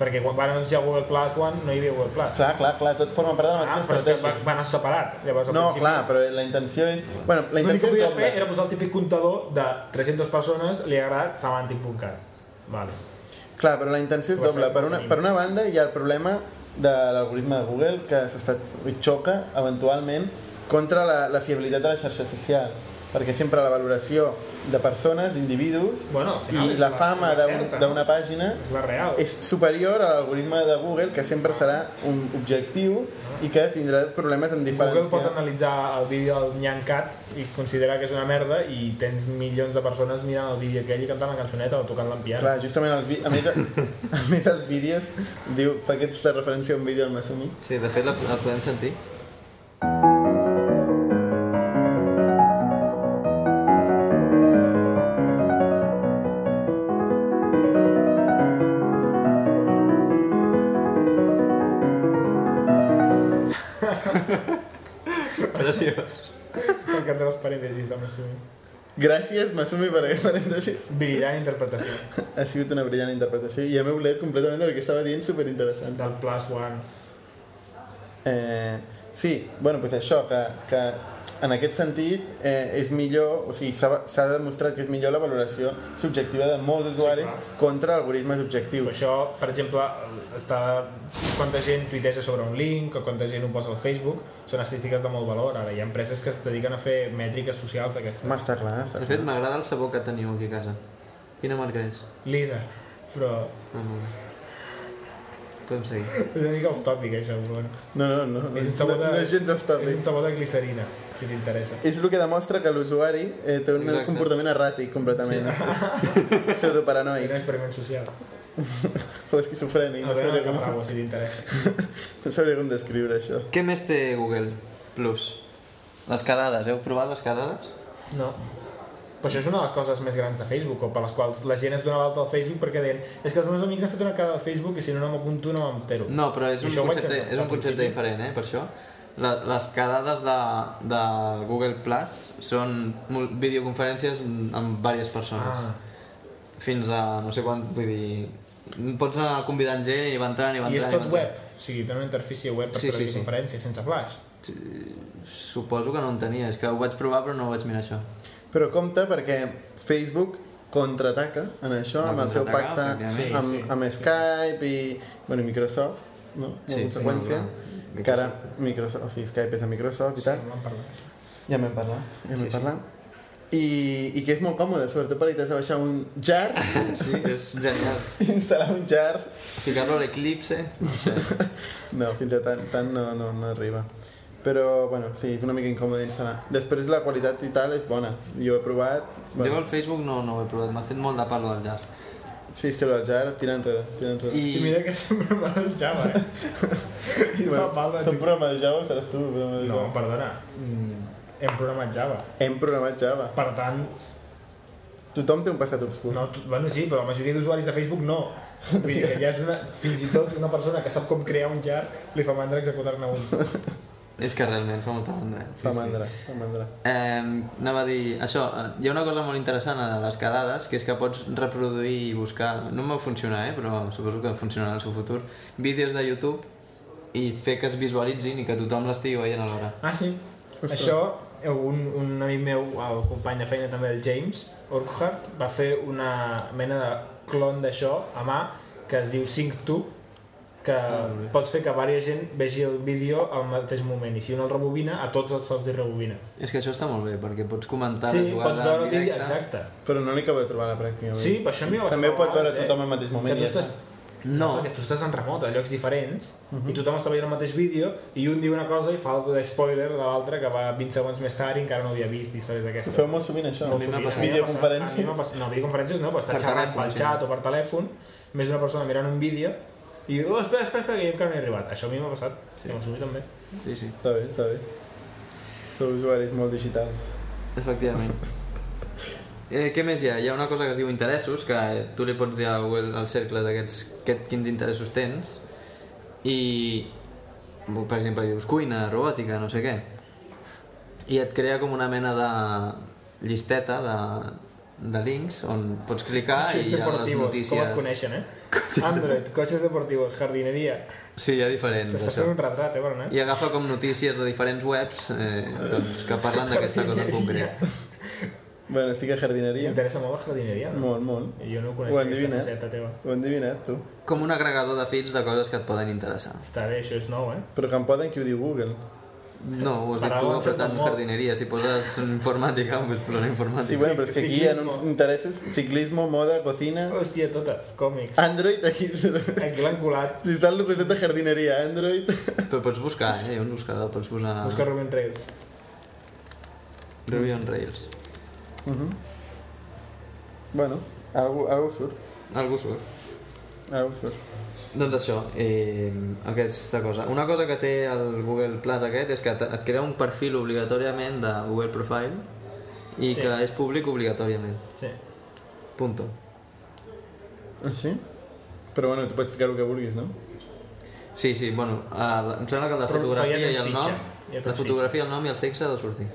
Speaker 3: perquè quan van anunciar Google Plus One no hi havia Google Plus
Speaker 1: Clar, clar, clar, tot forma part de la
Speaker 3: ah,
Speaker 1: mateixa
Speaker 3: però és que
Speaker 1: estratègia.
Speaker 3: va, va anar separat llavors al
Speaker 1: No,
Speaker 3: principi
Speaker 1: clar, però la intenció és... Bueno, la
Speaker 3: l'únic que
Speaker 1: intenció és
Speaker 3: podies fer
Speaker 1: doble.
Speaker 3: era posar el típic comptador de 300 persones li ha agradat semantic.cat vale.
Speaker 1: Clar, però la intenció és
Speaker 3: Ho va
Speaker 1: doble.
Speaker 3: ser,
Speaker 1: Per
Speaker 3: ho
Speaker 1: una,
Speaker 3: tenim.
Speaker 1: per una banda hi ha el problema de l'algoritme de Google que s'està xoca eventualment contra la, la fiabilitat de la xarxa social perquè sempre la valoració de persones, d'individus
Speaker 3: Bueno, al final
Speaker 1: i
Speaker 3: és
Speaker 1: la
Speaker 3: la-
Speaker 1: fama
Speaker 3: la
Speaker 1: d'un-
Speaker 3: certa, no?
Speaker 1: d'una pàgina
Speaker 3: és la real
Speaker 1: és superior a l'algoritme de Google que sempre serà un objectiu i que tindrà problemes en
Speaker 3: Google pot
Speaker 1: diferenciar.
Speaker 3: analitzar el vídeo del Nyancat i considerar que és una merda i tens milions de persones mirant el vídeo aquell i cantant la cançoneta o tocant l'empiano
Speaker 1: Clar, justament els vi- a més, a més els vídeos diu, fa aquesta referència a un vídeo al Masumi
Speaker 2: Sí, de fet la, la podem sentir. Preciós.
Speaker 3: M'encanten els parèntesis, amb això.
Speaker 1: gràcies Masumi per aquest parèntesis
Speaker 3: Brillant interpretació
Speaker 1: Ha sigut una brillant interpretació i ja m'he oblidat completament del que estava dient, superinteressant.
Speaker 3: del Plus One.
Speaker 1: Eh, sí, bueno, doncs això, que, que en aquest sentit eh, és millor, o sigui, s'ha s'ha demostrat que és millor la valoració subjectiva de molts usuaris
Speaker 3: clar.
Speaker 1: contra algoritmes
Speaker 3: Però
Speaker 1: objectius.
Speaker 3: això, per exemple, està... quanta gent tuiteja sobre un link o quanta gent ho posa al Facebook, són estadístiques de molt valor. Ara hi ha empreses que es dediquen a fer mètriques socials d'aquestes.
Speaker 1: Home, està clar, està
Speaker 2: De
Speaker 1: clar.
Speaker 2: fet, m'agrada el sabó que teniu aquí a casa. Quina marca és?
Speaker 3: Líder. Però
Speaker 2: No, no. Podem seguir.
Speaker 3: és una mica off-topic, això. Però bueno.
Speaker 1: No, no, no, no,
Speaker 3: És un
Speaker 1: no,
Speaker 3: sabó de...
Speaker 1: no és gens
Speaker 3: És un
Speaker 1: obstable.
Speaker 3: sabó de glicerina, si t'interessa.
Speaker 1: És el que demostra que l'usuari eh, té un
Speaker 2: Exacte.
Speaker 1: comportament erràtic completament. Sí.
Speaker 3: És un
Speaker 1: Pseudoparanoic.
Speaker 3: experiment social.
Speaker 1: O esquizofrènic.
Speaker 3: A
Speaker 1: No
Speaker 3: veure
Speaker 1: sabria,
Speaker 3: el
Speaker 1: com,
Speaker 3: Capravo, si t'interessa.
Speaker 1: no sabria com descriure això.
Speaker 2: Què més té Google Plus? Les cadades. Heu provat les cadades?
Speaker 3: No. Però això és una de les coses més grans de Facebook, o per les quals la gent es donava alta al Facebook perquè deien és que els meus amics han fet una cara de Facebook i si no, no m'apunto, no m'entero.
Speaker 2: No, però és
Speaker 3: I
Speaker 2: un
Speaker 3: això ho vaig
Speaker 2: concepte,
Speaker 3: saber
Speaker 2: és
Speaker 3: al
Speaker 2: un concepte
Speaker 3: principi.
Speaker 2: diferent, eh, per això. La, les quedades de, de Google Plus són mul- videoconferències amb amb diverses persones.
Speaker 3: Ah.
Speaker 2: Fins a no sé quant, vull dir... Pots anar convidant gent i va entrant i va entrant.
Speaker 3: I és
Speaker 2: va
Speaker 3: tot
Speaker 2: entrant.
Speaker 3: web, o sigui, té una interfície web per
Speaker 2: Sí,
Speaker 3: sí,
Speaker 2: sí,
Speaker 3: fer
Speaker 2: sí.
Speaker 3: sí, conferència, sense flash.
Speaker 2: Suposo que no en tenia, és que ho vaig provar però no ho vaig mirar això.
Speaker 1: Però compte perquè Facebook contraataca en això,
Speaker 2: Va
Speaker 1: amb el seu
Speaker 2: contraatacar,
Speaker 1: pacte
Speaker 2: òbviament.
Speaker 1: amb,
Speaker 3: Sí, sí.
Speaker 1: amb Skype i bueno, Microsoft, no? En
Speaker 2: Sí,
Speaker 1: conseqüència,
Speaker 2: sí, clar.
Speaker 1: que ara Microsoft, o sigui, Skype és de Microsoft i tal.
Speaker 3: No en parlat.
Speaker 1: Ja en vam parlar, ja en
Speaker 2: Sí,
Speaker 1: vam
Speaker 2: sí.
Speaker 1: parlar. I, I que és molt còmode, sobretot per evitar de baixar un jar,
Speaker 2: Sí, és genial.
Speaker 1: instal·lar un jar...
Speaker 2: Ficar-lo a l'Eclipse... No sé.
Speaker 1: No, fins a tant, tant no, no, no arriba. Però, bueno, sí, és una mica incòmode instal·lar. Després la qualitat i tal és bona. Jo he provat...
Speaker 2: Jo
Speaker 1: Bueno,
Speaker 2: el Facebook no, no ho he provat, m'ha fet molt de palo al llarg.
Speaker 1: sí, és que el jar tira enrere, tira enrere.
Speaker 3: I...
Speaker 2: I,
Speaker 3: mira que sempre me deixava, eh? I
Speaker 1: Bueno,
Speaker 3: fa palma.
Speaker 1: Som programes de Java, seràs tu, programes de
Speaker 3: No,
Speaker 1: Java.
Speaker 3: perdona. Mm, hem programat Java.
Speaker 1: Hem programat Java.
Speaker 3: Per tant,
Speaker 1: Tothom té un passat obscur.
Speaker 3: no, tu, bueno, sí, però la majoria d'usuaris de Facebook no. Vull dir que ja és una, fins i tot una persona que sap com crear un jar li fa mandra executar-ne un.
Speaker 2: és que realment fa molta mandra.
Speaker 1: Fa mandra, fa mandra.
Speaker 2: Eh, anava a dir això, eh, hi ha una cosa molt interessant de les quedades, que és que pots reproduir i buscar, no em va funcionar, eh, però suposo que funcionarà al seu futur, vídeos de YouTube i fer que es visualitzin i que tothom l'estigui veient alhora.
Speaker 3: Ah, sí.
Speaker 4: Ostres.
Speaker 3: Això, un, un amic meu, el company de feina també, el James Urquhart, va fer una mena de clon d'això a mà que es diu SyncTube que
Speaker 2: Ah, molt bé.
Speaker 3: pots fer que varia gent vegi el vídeo al mateix moment i si un el rebobina, a tots els se'ls hi rebobina.
Speaker 2: És que això està molt bé, perquè pots comentar
Speaker 3: sí,
Speaker 2: la jugada
Speaker 3: pots veure
Speaker 2: en
Speaker 3: el vídeo,
Speaker 2: directe.
Speaker 3: exacte.
Speaker 1: Però no li acabo de trobar la pràctica.
Speaker 3: Sí, per això a mi va
Speaker 1: També ho pot veure tothom al mateix moment
Speaker 3: eh? Que
Speaker 1: i
Speaker 3: tu
Speaker 1: ja
Speaker 3: estàs...
Speaker 2: No.
Speaker 3: Perquè tu estàs en remot, a llocs diferents,
Speaker 1: Mhm.
Speaker 3: i tothom està veient el mateix vídeo, i un diu una cosa i fa el de spoiler de l'altre que va 20 segons més tard i encara no havia vist històries
Speaker 1: Ho
Speaker 3: d'aquestes.
Speaker 1: feu molt sovint, això.
Speaker 2: A mi m'ha
Speaker 3: Sovint,
Speaker 2: passat.
Speaker 3: a mi m'ha passat.
Speaker 1: Videoconferències?
Speaker 3: A mi m'ha passat. No, videoconferències no, però està
Speaker 2: Per
Speaker 3: xerrant
Speaker 2: telèfon,
Speaker 3: pel
Speaker 2: sí.
Speaker 3: xat o per telèfon, més d'una persona mirant un vídeo, i diu, oh, espera, espera, espera, que jo encara no he arribat. Això a mi m'ha passat, sí. que m'assumí també.
Speaker 2: Sí, sí,
Speaker 1: Està bé, està bé. Sou usuaris molt digitals.
Speaker 2: efectivament. Eh, què més hi ha? Hi ha una cosa que es diu interessos, que tu li pots dir a Google als cercles aquests, que, quins interessos tens, i, per exemple, dius cuina, robòtica, no sé què, i et crea com una mena de llisteta de, de links on pots clicar
Speaker 3: Coches
Speaker 2: Ah, i hi ha les
Speaker 3: deportivos,
Speaker 2: notícies...
Speaker 3: com et coneixen, eh? Android, coches deportivos, jardineria.
Speaker 2: Sí, hi ha diferents,
Speaker 3: T'estàs
Speaker 2: Doncs això.
Speaker 3: fent un retrat, eh, Bernat?
Speaker 2: I agafa com notícies de diferents webs eh, doncs, que parlen d'aquesta cosa en concret.
Speaker 1: Bueno, estic a jardineria.
Speaker 3: T'interessa molt la jardineria, no?
Speaker 1: Molt, molt.
Speaker 3: Jo no
Speaker 1: Ho
Speaker 3: coneixia aquesta
Speaker 1: endevines.
Speaker 3: faceta teva.
Speaker 1: Ho he endevinat, tu.
Speaker 2: Com un agregador de feeds de coses que et poden interessar.
Speaker 3: Està bé, això és nou, eh?
Speaker 1: Però que em poden que ho diu Google.
Speaker 2: No, ho has dit tu
Speaker 3: Paraula
Speaker 2: apretant
Speaker 3: sense amor.
Speaker 2: jardineria. Si poses informàtica, doncs posarà
Speaker 1: Sí,
Speaker 2: informàtica.
Speaker 1: bueno, però és que aquí hi ha uns interessos. Ciclismo, moda, cocina...
Speaker 3: Hòstia, totes, còmics.
Speaker 1: Android, aquí... Si
Speaker 3: Aquí l'han colat.
Speaker 1: està al costat de jardineria, Android...
Speaker 2: Però pots buscar, eh? Hi ha un buscador, pots posar...
Speaker 3: Busca Ruben Rails.
Speaker 2: Ruby on Rails.
Speaker 1: Bueno, algú, algú surt.
Speaker 2: Algú surt.
Speaker 1: Algú surt.
Speaker 2: Doncs això, eh, aquesta cosa. Una cosa que té el Google Plus aquest és que et et crea un perfil obligatòriament de Google Profile i
Speaker 3: Sí.
Speaker 2: que és públic obligatòriament.
Speaker 3: Sí.
Speaker 2: Punto.
Speaker 1: Ah, sí? Però bueno, tu pots ficar el que vulguis, no?
Speaker 2: Sí, sí, bueno, el, em sembla que la
Speaker 3: Però-
Speaker 2: fotografia
Speaker 3: però ja
Speaker 2: i
Speaker 3: tens
Speaker 2: el nom...
Speaker 3: fitxa, ja tens
Speaker 2: la fotografia, el nom i el sexe ha de sortir.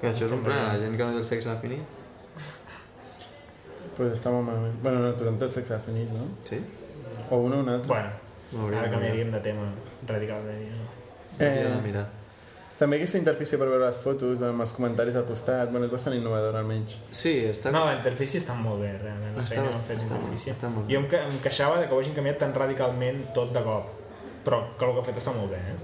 Speaker 2: Que això és un problema, la gent que no té el sexe definit.
Speaker 1: Doncs pues està molt malament. Bueno, no, tothom té el sexe definit, no?
Speaker 2: Sí?
Speaker 1: O un o un altre.
Speaker 3: Bueno,
Speaker 2: Molt bé,
Speaker 3: ara
Speaker 2: molt
Speaker 3: canviaríem de tema radicalment. ja.
Speaker 2: Hauria
Speaker 1: Eh.
Speaker 2: de mirar.
Speaker 1: També aquesta interfície per veure les fotos, amb els comentaris al costat, bueno, és bastant innovadora almenys.
Speaker 2: Sí, està...
Speaker 3: No, la interfície està molt bé, realment. La
Speaker 2: Està-
Speaker 3: feina que han fet
Speaker 2: està molt-
Speaker 3: interfície.
Speaker 2: està molt bé.
Speaker 3: Jo em, que, em queixava de que ho hagin canviat tan radicalment tot de cop. Però que el que ha fet està molt bé, eh?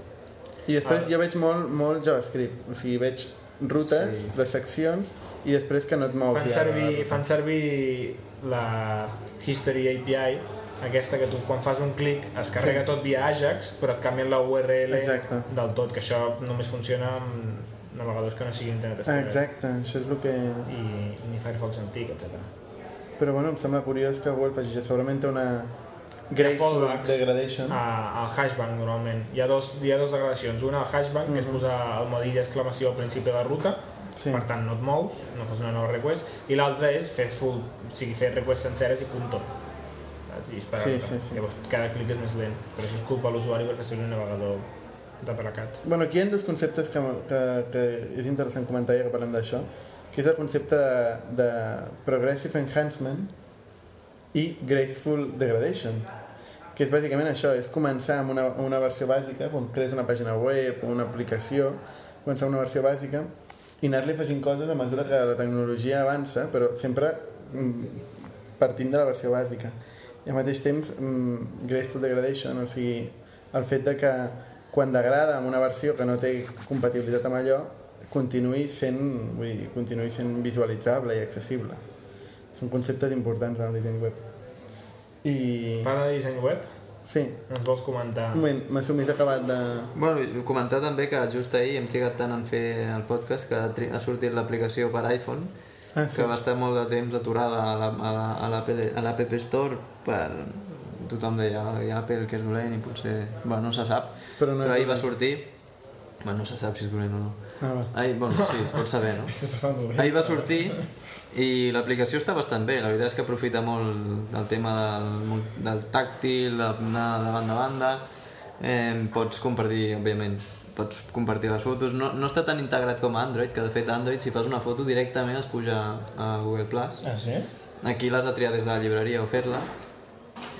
Speaker 1: I després jo veig molt, molt JavaScript, o sigui, veig rutes sí. de seccions i després que no et mous
Speaker 3: Fan
Speaker 1: ja.
Speaker 3: servir, fan servir la History API, aquesta que tu quan fas un clic es carrega tot via Ajax, però et canvien la URL
Speaker 1: Exacte.
Speaker 3: del tot, que això només funciona amb navegadors que no siguin Internet
Speaker 1: Ah,
Speaker 3: Explorer.
Speaker 1: exacte, això és el que...
Speaker 3: I, ni Firefox antic, etc.
Speaker 1: Però bueno, em sembla curiós que Google faci això. Segurament té una graceful
Speaker 3: fallbacks.
Speaker 1: degradation. Ah.
Speaker 3: a, al hashbang normalment. Hi ha dos, hi ha dos degradacions. Una al hashbang, mm -hmm. que és posar el modill exclamació al principi de la ruta,
Speaker 1: Sí.
Speaker 3: sí. per tant no et mous, no fas una nova request, i l'altra és fer full, o sigui, fer requests senceres i punto. Saps? I esperar
Speaker 1: Sí,
Speaker 3: que-
Speaker 1: sí, sí.
Speaker 3: Llavors cada clic és més lent, però això és culpa de l'usuari per fer servir un navegador de placat.
Speaker 1: Bueno, aquí hi ha dos conceptes que, que, que és interessant comentar ja que parlem d'això, que és el concepte de, de progressive enhancement i graceful degradation que és bàsicament això, és començar amb una, amb una versió bàsica, quan crees una pàgina web o una aplicació, començar amb una versió bàsica i anar-li afegint coses a mesura que la tecnologia avança, però sempre mm, partint de la versió bàsica. I al mateix temps, mm, Graceful Degradation, o sigui, el fet de que quan degrada amb una versió que no té compatibilitat amb allò, continuï sent, vull dir, continuï sent visualitzable i accessible. Són conceptes importants en el disseny web. I...
Speaker 3: Parla de disseny web,
Speaker 1: Sí,
Speaker 3: ens vols comentar...
Speaker 1: un moment, m'ha sumís acabat de...
Speaker 2: Bueno, comentar també que just ahir hem trigat tant en fer el podcast que ha tri- ha sortit l'aplicació per iPhone
Speaker 1: Ah, sí.
Speaker 2: que va estar molt de temps aturada a la- a la- a l'Apple- a l'App Store per... tothom deia "Ai, Apple que és dolent i potser... bueno, no se sap
Speaker 1: Però no és
Speaker 2: però ahir va
Speaker 1: dolent.
Speaker 2: sortir bueno, no se sap si és dolent o no
Speaker 1: Ah, va.
Speaker 2: ahir, bueno, sí, es pot saber, no?
Speaker 4: Està bastant dolent.
Speaker 2: Ahir va sortir i l'aplicació està bastant bé, la veritat és que aprofita molt el tema del, mul- del tàctil, d'anar de banda a banda, eh, pots compartir, òbviament, pots compartir les fotos, no, no està tan integrat com Android, que de fet Android si fas una foto directament es puja a Google+. Plus.
Speaker 3: Ah, sí?
Speaker 2: Aquí l'has de triar des de la llibreria o fer-la,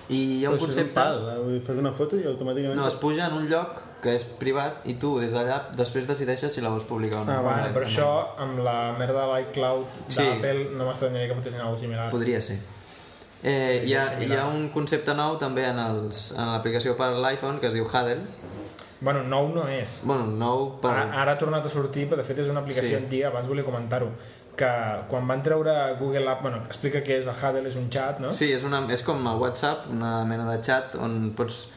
Speaker 2: I hi ha
Speaker 1: Però això
Speaker 2: un
Speaker 1: és
Speaker 2: concepte...
Speaker 1: pal, eh? Vull dir, fas una foto i automàticament...
Speaker 2: No, es puja en un lloc que és privat i tu des d'allà després decideixes si la vols publicar o no.
Speaker 1: Ah,
Speaker 3: Bueno, però això, amb la merda de l'iCloud
Speaker 2: Sí.
Speaker 3: d'Apple, no m'estranyaria que fotessin alguna cosa similar.
Speaker 2: Podria ser. Eh, hi, ha, hi ha un concepte nou també en els- en l'aplicació per l'iPhone que es diu Huddle.
Speaker 3: Bueno, nou no és.
Speaker 2: Bueno, nou per...
Speaker 3: Ara, ara ha tornat a sortir, però de fet és una aplicació
Speaker 2: Sí.
Speaker 3: sí. antiga, abans volia comentar-ho, que quan van treure Google App, bueno, explica què és el Huddle, és un xat, no?
Speaker 2: Sí, és, una, és com el WhatsApp, una mena de chat on pots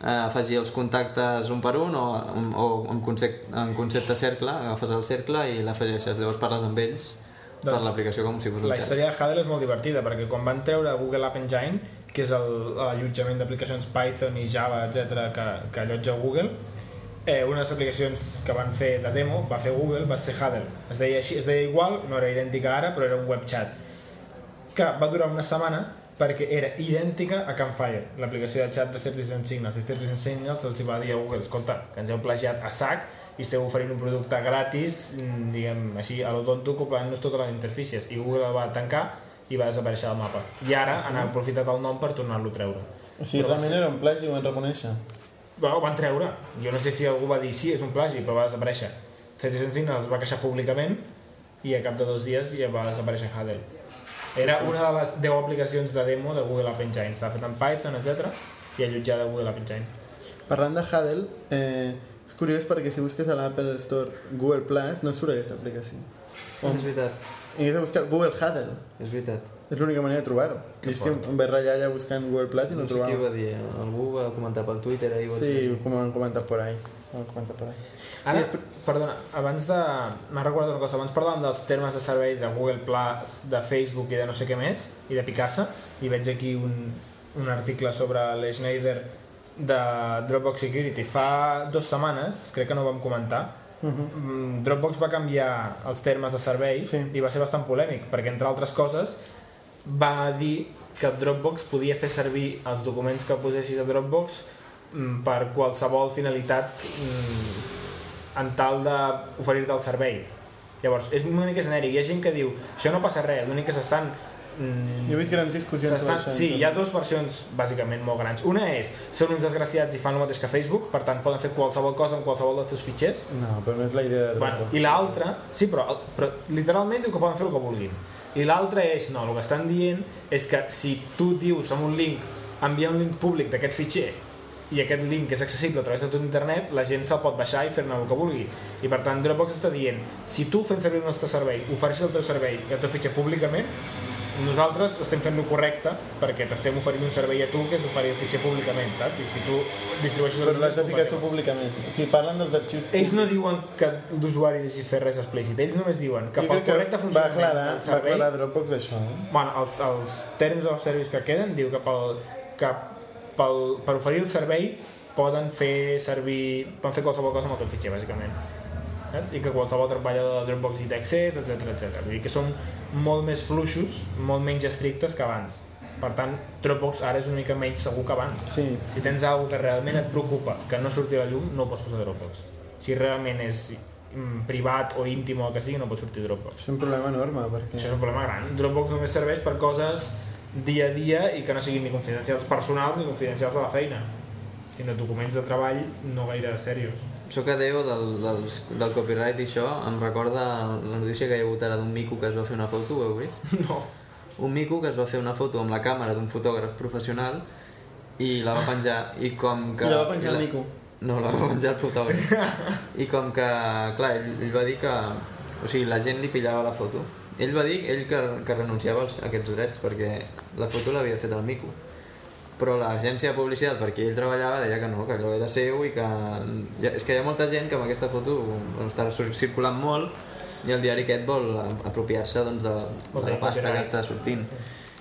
Speaker 2: eh, afegir els contactes un per un o, o en, concepte, en concepte cercle, agafes el cercle i l'afegeixes, llavors parles amb ells doncs, per
Speaker 3: Doncs,
Speaker 2: l'aplicació com si fos un
Speaker 3: La
Speaker 2: chat.
Speaker 3: història de Huddle és molt divertida, perquè quan van treure Google App Engine, que és el- l'allotjament d'aplicacions Python i Java, etc que, que allotja Google, eh, una de les aplicacions que van fer de demo, va fer Google, va ser Huddle. Es deia, així, es deia igual, no era idèntica ara, però era un web chat. que va durar una setmana perquè era idèntica a Campfire, l'aplicació de xat de 30 Cent Signals. I 30 Cent Signals els hi va dir a Google, escolta, que ens heu plagiat a sac i esteu oferint un producte gratis, mm, diguem així, a lo tonto, copiant-nos totes les interfícies. I Google el va tancar i va desaparèixer del mapa. I ara han aprofitat el nom per tornar-lo a treure.
Speaker 1: Ah, O sigui, realment era un plagi, ho van reconèixer.
Speaker 3: Bueno, ho van treure. Jo no sé si algú va dir, sí, és un plagi, però va desaparèixer. 30 Cent Signals es va queixar públicament i a cap de dos dies ja va desaparèixer Huddle. Era una de les 10 aplicacions de demo de Google App Engine. Estava fet en Python, etc i allotjada a Google App Engine.
Speaker 1: Parlant de Huddle, eh, és curiós perquè si busques a l'Apple Store Google Plus no surt aquesta aplicació.
Speaker 2: Com? És veritat,
Speaker 1: I has de buscar Google Huddle.
Speaker 2: és veritat.
Speaker 1: És l'única manera de trobar-ho. I és que em vaig ratllar allà buscant Google Plus i no,
Speaker 2: No
Speaker 1: no
Speaker 2: sé qui ho
Speaker 1: trobava.
Speaker 2: va dir, eh? algú ho va comentar pel Twitter ahir. o
Speaker 1: Sí, com han comentat por ahí. Ho han comentat por ahí.
Speaker 3: Ara, perdona, abans de... M'ha recordat una cosa, abans parlàvem dels termes de servei de Google Plus, de Facebook i de no sé què més, i de Picasa, i veig aquí un, un article sobre l'Schneider de Dropbox Security. Fa dues setmanes, crec que no ho vam comentar, uh -huh. Dropbox va canviar els termes de servei
Speaker 1: Sí.
Speaker 3: i va ser bastant polèmic, perquè entre altres coses va dir que Dropbox podia fer servir els documents que posessis a Dropbox mm, per qualsevol finalitat mm, en tal d'oferir-te el servei. Llavors, és una mica genèric. Hi ha gent que diu, això no passa res, l'únic que s'estan...
Speaker 1: Jo he
Speaker 3: Mm,
Speaker 1: vist grans discussions
Speaker 3: s'estan... Sí, hi ha dues versions bàsicament molt grans. Una és, són uns desgraciats i fan el mateix que Facebook, per tant poden fer qualsevol cosa amb qualsevol dels teus fitxers,
Speaker 1: No, però no és la idea de
Speaker 3: Bueno,
Speaker 1: Dropbox.
Speaker 3: I l'altra, sí, però, però literalment diu que poden fer el que vulguin. I l'altra és, no, el que estan dient és que si tu dius amb un link, envia un link públic d'aquest fitxer i aquest link és accessible a través de tot internet, la gent se'l pot baixar i fer-ne el que vulgui. I per tant, Dropbox està dient, si tu fent servir el nostre servei, ofereixes el teu servei i el teu fitxer públicament, nosaltres estem fent lo correcte perquè t'estem oferint un servei a tu que és oferir el fitxer públicament, saps? I si tu distribueixes
Speaker 1: Però l'has de
Speaker 3: és
Speaker 1: ficar tu
Speaker 3: culpa teva.
Speaker 1: públicament. O sigui, parlen dels arxius
Speaker 3: Ells no diuen que l'usuari deixi fer res explícit, ells només diuen que
Speaker 1: Jo
Speaker 3: pel
Speaker 1: crec
Speaker 3: correcte
Speaker 1: va
Speaker 3: funcionament
Speaker 1: aclarar,
Speaker 3: del
Speaker 1: va
Speaker 3: servei...
Speaker 1: aclarar Dropbox això, eh?
Speaker 3: Bueno, el, els terms of service que queden diu que, pel, que pel, per oferir el servei poden fer servir... poden fer qualsevol cosa amb el teu fitxer, bàsicament. Saps? I que qualsevol treballador de Dropbox hi té accés, etc etc. Vull dir que són molt més fluixos, molt menys estrictes que abans. Per tant, Dropbox ara és una mica menys segur que abans.
Speaker 1: Sí.
Speaker 3: Si tens alguna que realment et preocupa que no surti a la llum, no ho pots posar a Dropbox. Si realment és mm, privat o íntim o el que sigui, no pot sortir a Dropbox.
Speaker 1: És un problema enorme, perquè...
Speaker 3: Això és un problema gran. Dropbox només serveix per coses dia a dia i que no siguin ni confidencials personals ni confidencials de la feina. Sinó documents de treball no gaire serios.
Speaker 2: Això que deu del, del, del copyright i això em recorda la notícia que hi ha hagut ara d'un mico que es va fer una foto, ho heu vist?
Speaker 3: No.
Speaker 2: un mico que es va fer una foto amb la càmera d'un fotògraf professional i la va penjar i com que...
Speaker 1: I la va penjar el mico.
Speaker 2: No, la va penjar el fotògraf. I com que, clar, ell, ell va dir que... O sigui, la gent li pillava la foto. Ell va dir, ell que, que renunciava als, a aquests drets perquè la foto l'havia fet el mico. Però l'agència de publicitat per qui ell treballava deia que no, que allò era seu i que... hi ha- És que hi ha molta gent que amb aquesta foto bueno, està cir- circulant molt i el diari aquest vol a- apropiar-se doncs, de,
Speaker 3: Vol
Speaker 2: de
Speaker 3: tenir
Speaker 2: la pasta que
Speaker 3: copyright.
Speaker 2: està sortint.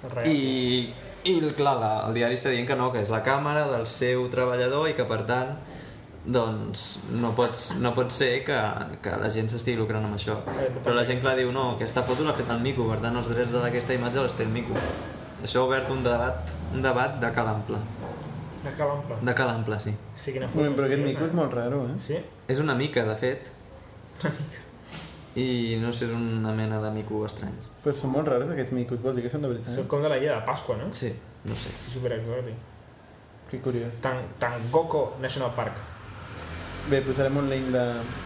Speaker 3: Real.
Speaker 2: I, i clar, la, el diari està dient que no, que és la càmera del seu treballador i que per tant doncs no, pots, no pot ser que, que la gent s'estigui lucrant amb això però la gent clar diu no, aquesta foto l'ha fet el Mico per tant els drets d'aquesta imatge els té el Mico això ha obert un debat un debat de cal ample
Speaker 3: De cal ample.
Speaker 2: de cal ample, sí
Speaker 3: Sí, quina
Speaker 1: Bueno, però aquest
Speaker 3: és,
Speaker 1: mico és molt raro, eh?
Speaker 3: Sí?
Speaker 2: és una mica, de fet i no sé, és una mena de mico estrany
Speaker 1: Però són molt raros aquests micos, vols dir que són de veritat?
Speaker 3: Són com de la guia de Pasqua, no?
Speaker 2: sí, no sé
Speaker 3: Sí, super exòtic.
Speaker 1: Que curiós.
Speaker 3: Tan, Tangoko National Park.
Speaker 1: Bé, posarem un link de,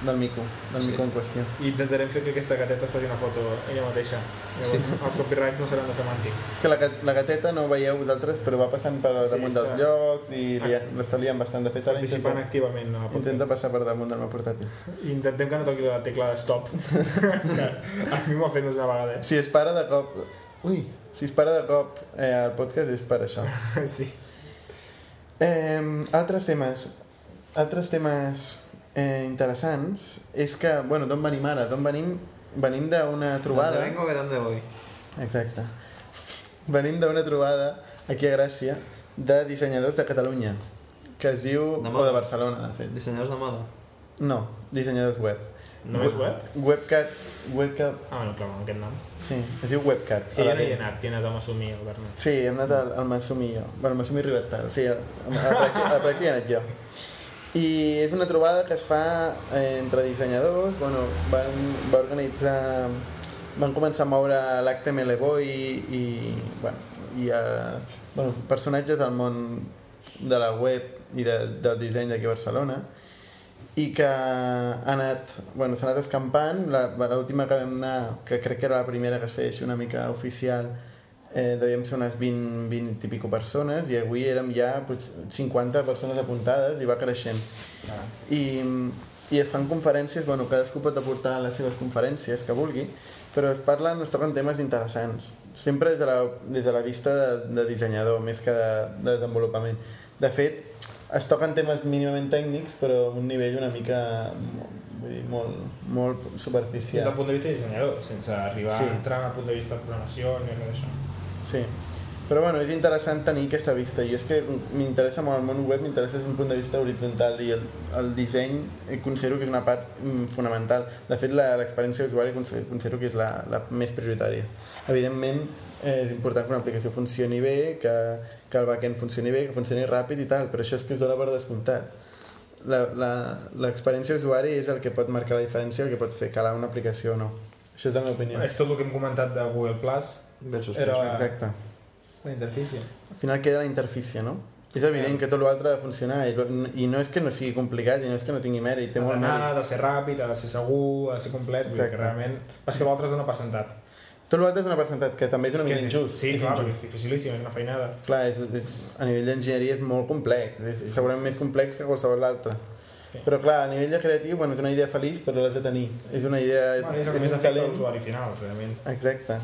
Speaker 1: del mico, del
Speaker 2: Sí.
Speaker 1: mico en qüestió.
Speaker 3: I intentarem fer que aquesta gateta es faci una foto ella mateixa. Llavors, sí. els copyrights no seran de semàntic.
Speaker 1: És que la, gat- la gateta no ho veieu vosaltres, però va passant per
Speaker 3: Sí,
Speaker 1: damunt
Speaker 3: està- Ah.
Speaker 1: dels llocs i li, l'està liant bastant. De fet, ara
Speaker 3: Participant
Speaker 1: intenta,
Speaker 3: activament a la
Speaker 1: intenta
Speaker 3: podcast.
Speaker 1: passar per damunt del meu portàtil.
Speaker 3: I intentem que no toqui la tecla de stop. que a mi m'ho ha fet més d'una vegada.
Speaker 1: Si es para de cop... Ui! Si es para de cop eh, el podcast és per això.
Speaker 3: eh? Sí.
Speaker 1: Eh, altres temes altres temes eh, interessants és que, bueno, d'on venim ara? D'on venim? Venim d'una
Speaker 2: ¿Dónde
Speaker 1: trobada
Speaker 2: vengo que dónde voy?
Speaker 1: exacte venim d'una trobada aquí a Gràcia de dissenyadors de Catalunya que es diu,
Speaker 2: De
Speaker 1: o
Speaker 2: moda.
Speaker 1: de Barcelona de fet
Speaker 2: Dissenyadors de moda.
Speaker 1: no, dissenyadors web
Speaker 3: No és web?
Speaker 1: Webcat, Webcat,
Speaker 3: Ah, no, clar, amb aquest nom.
Speaker 1: sí, es diu Webcat
Speaker 3: Que
Speaker 1: a
Speaker 3: jo
Speaker 1: la
Speaker 3: no hi he
Speaker 1: tele.
Speaker 3: anat, t'hi he anat amb assumir el Bernat.
Speaker 1: Sí, hem anat al, al Masumi i jo. Bueno, Masumi ha arribat tard, sí, a la pràctica, a la pràctica he anat jo. I és una trobada que es fa eh, entre dissenyadors, bueno, van, va organitzar... Van començar a moure l'HTML Boy i, i, bueno, i eh, bueno, personatges del món de la web i de, del disseny d'aquí a Barcelona i que ha anat, bueno, s'ha anat escampant La- l'última que vam anar, que crec que era la primera que es feia així una mica oficial eh, devíem ser unes 20, 20 i pico persones i avui érem ja pues, 50 persones apuntades i va creixent
Speaker 3: Ah.
Speaker 1: i, i es fan conferències, bueno, cadascú pot aportar les seves conferències que vulgui, però es parlen, es toquen temes interessants, sempre des de la, des de la vista de, de dissenyador, més que de, de desenvolupament. De fet, es toquen temes mínimament tècnics, però a un nivell una mica mo- vull dir, molt, molt
Speaker 3: Des del
Speaker 1: superficial.
Speaker 3: punt de vista de dissenyador, sense arribar
Speaker 1: Sí.
Speaker 3: a entrar en el punt de vista de programació ni res d'això.
Speaker 1: Sí. Però bueno, és interessant tenir aquesta vista. I és que m'interessa molt el món web, m'interessa des d'un punt de vista horitzontal i el, el disseny eh, considero que és una part mm, fonamental. De fet, la- l'experiència d'usuari conse- considero que és la, la més prioritària. Evidentment, eh, és important que una aplicació funcioni bé, que, que el backend funcioni bé, que funcioni ràpid i tal, però això és que es dona per descomptat. La- la- L'experiència d'usuari és el que pot marcar la diferència, el que pot fer calar una aplicació o no. Això és la meva opinió.
Speaker 3: És tot el que hem comentat de Google Plus,
Speaker 2: Versus
Speaker 3: Era-
Speaker 1: Exacte.
Speaker 3: la interfície.
Speaker 1: Al final queda la interfície, no? És evident que tot l'altre ha de funcionar i, lo- i no és que no sigui complicat i no és que no tingui mèrit, té
Speaker 3: Ha
Speaker 1: molt
Speaker 3: d'anar,
Speaker 1: mèrit.
Speaker 3: ha de ser ràpid, ha de ser segur, ha de ser complet, vull dir
Speaker 1: Exacte.
Speaker 3: que realment... Però és que l'altre es dona per sentat.
Speaker 1: Tot l'altre és una percentat que també és una
Speaker 3: Que
Speaker 1: mica
Speaker 3: és-
Speaker 1: injust.
Speaker 3: Sí,
Speaker 1: és
Speaker 3: clar, perquè
Speaker 1: injust.
Speaker 3: és dificilíssim, és una feinada.
Speaker 1: Clar, és, és, a nivell d'enginyeria és molt complex, és segurament més complex que qualsevol altre. Però clar, a nivell de creatiu, bueno, és una idea feliç, però l'has de tenir. Eh, És una idea...
Speaker 3: Bueno, és el que més afecta l'usuari final, realment.
Speaker 1: Exacte.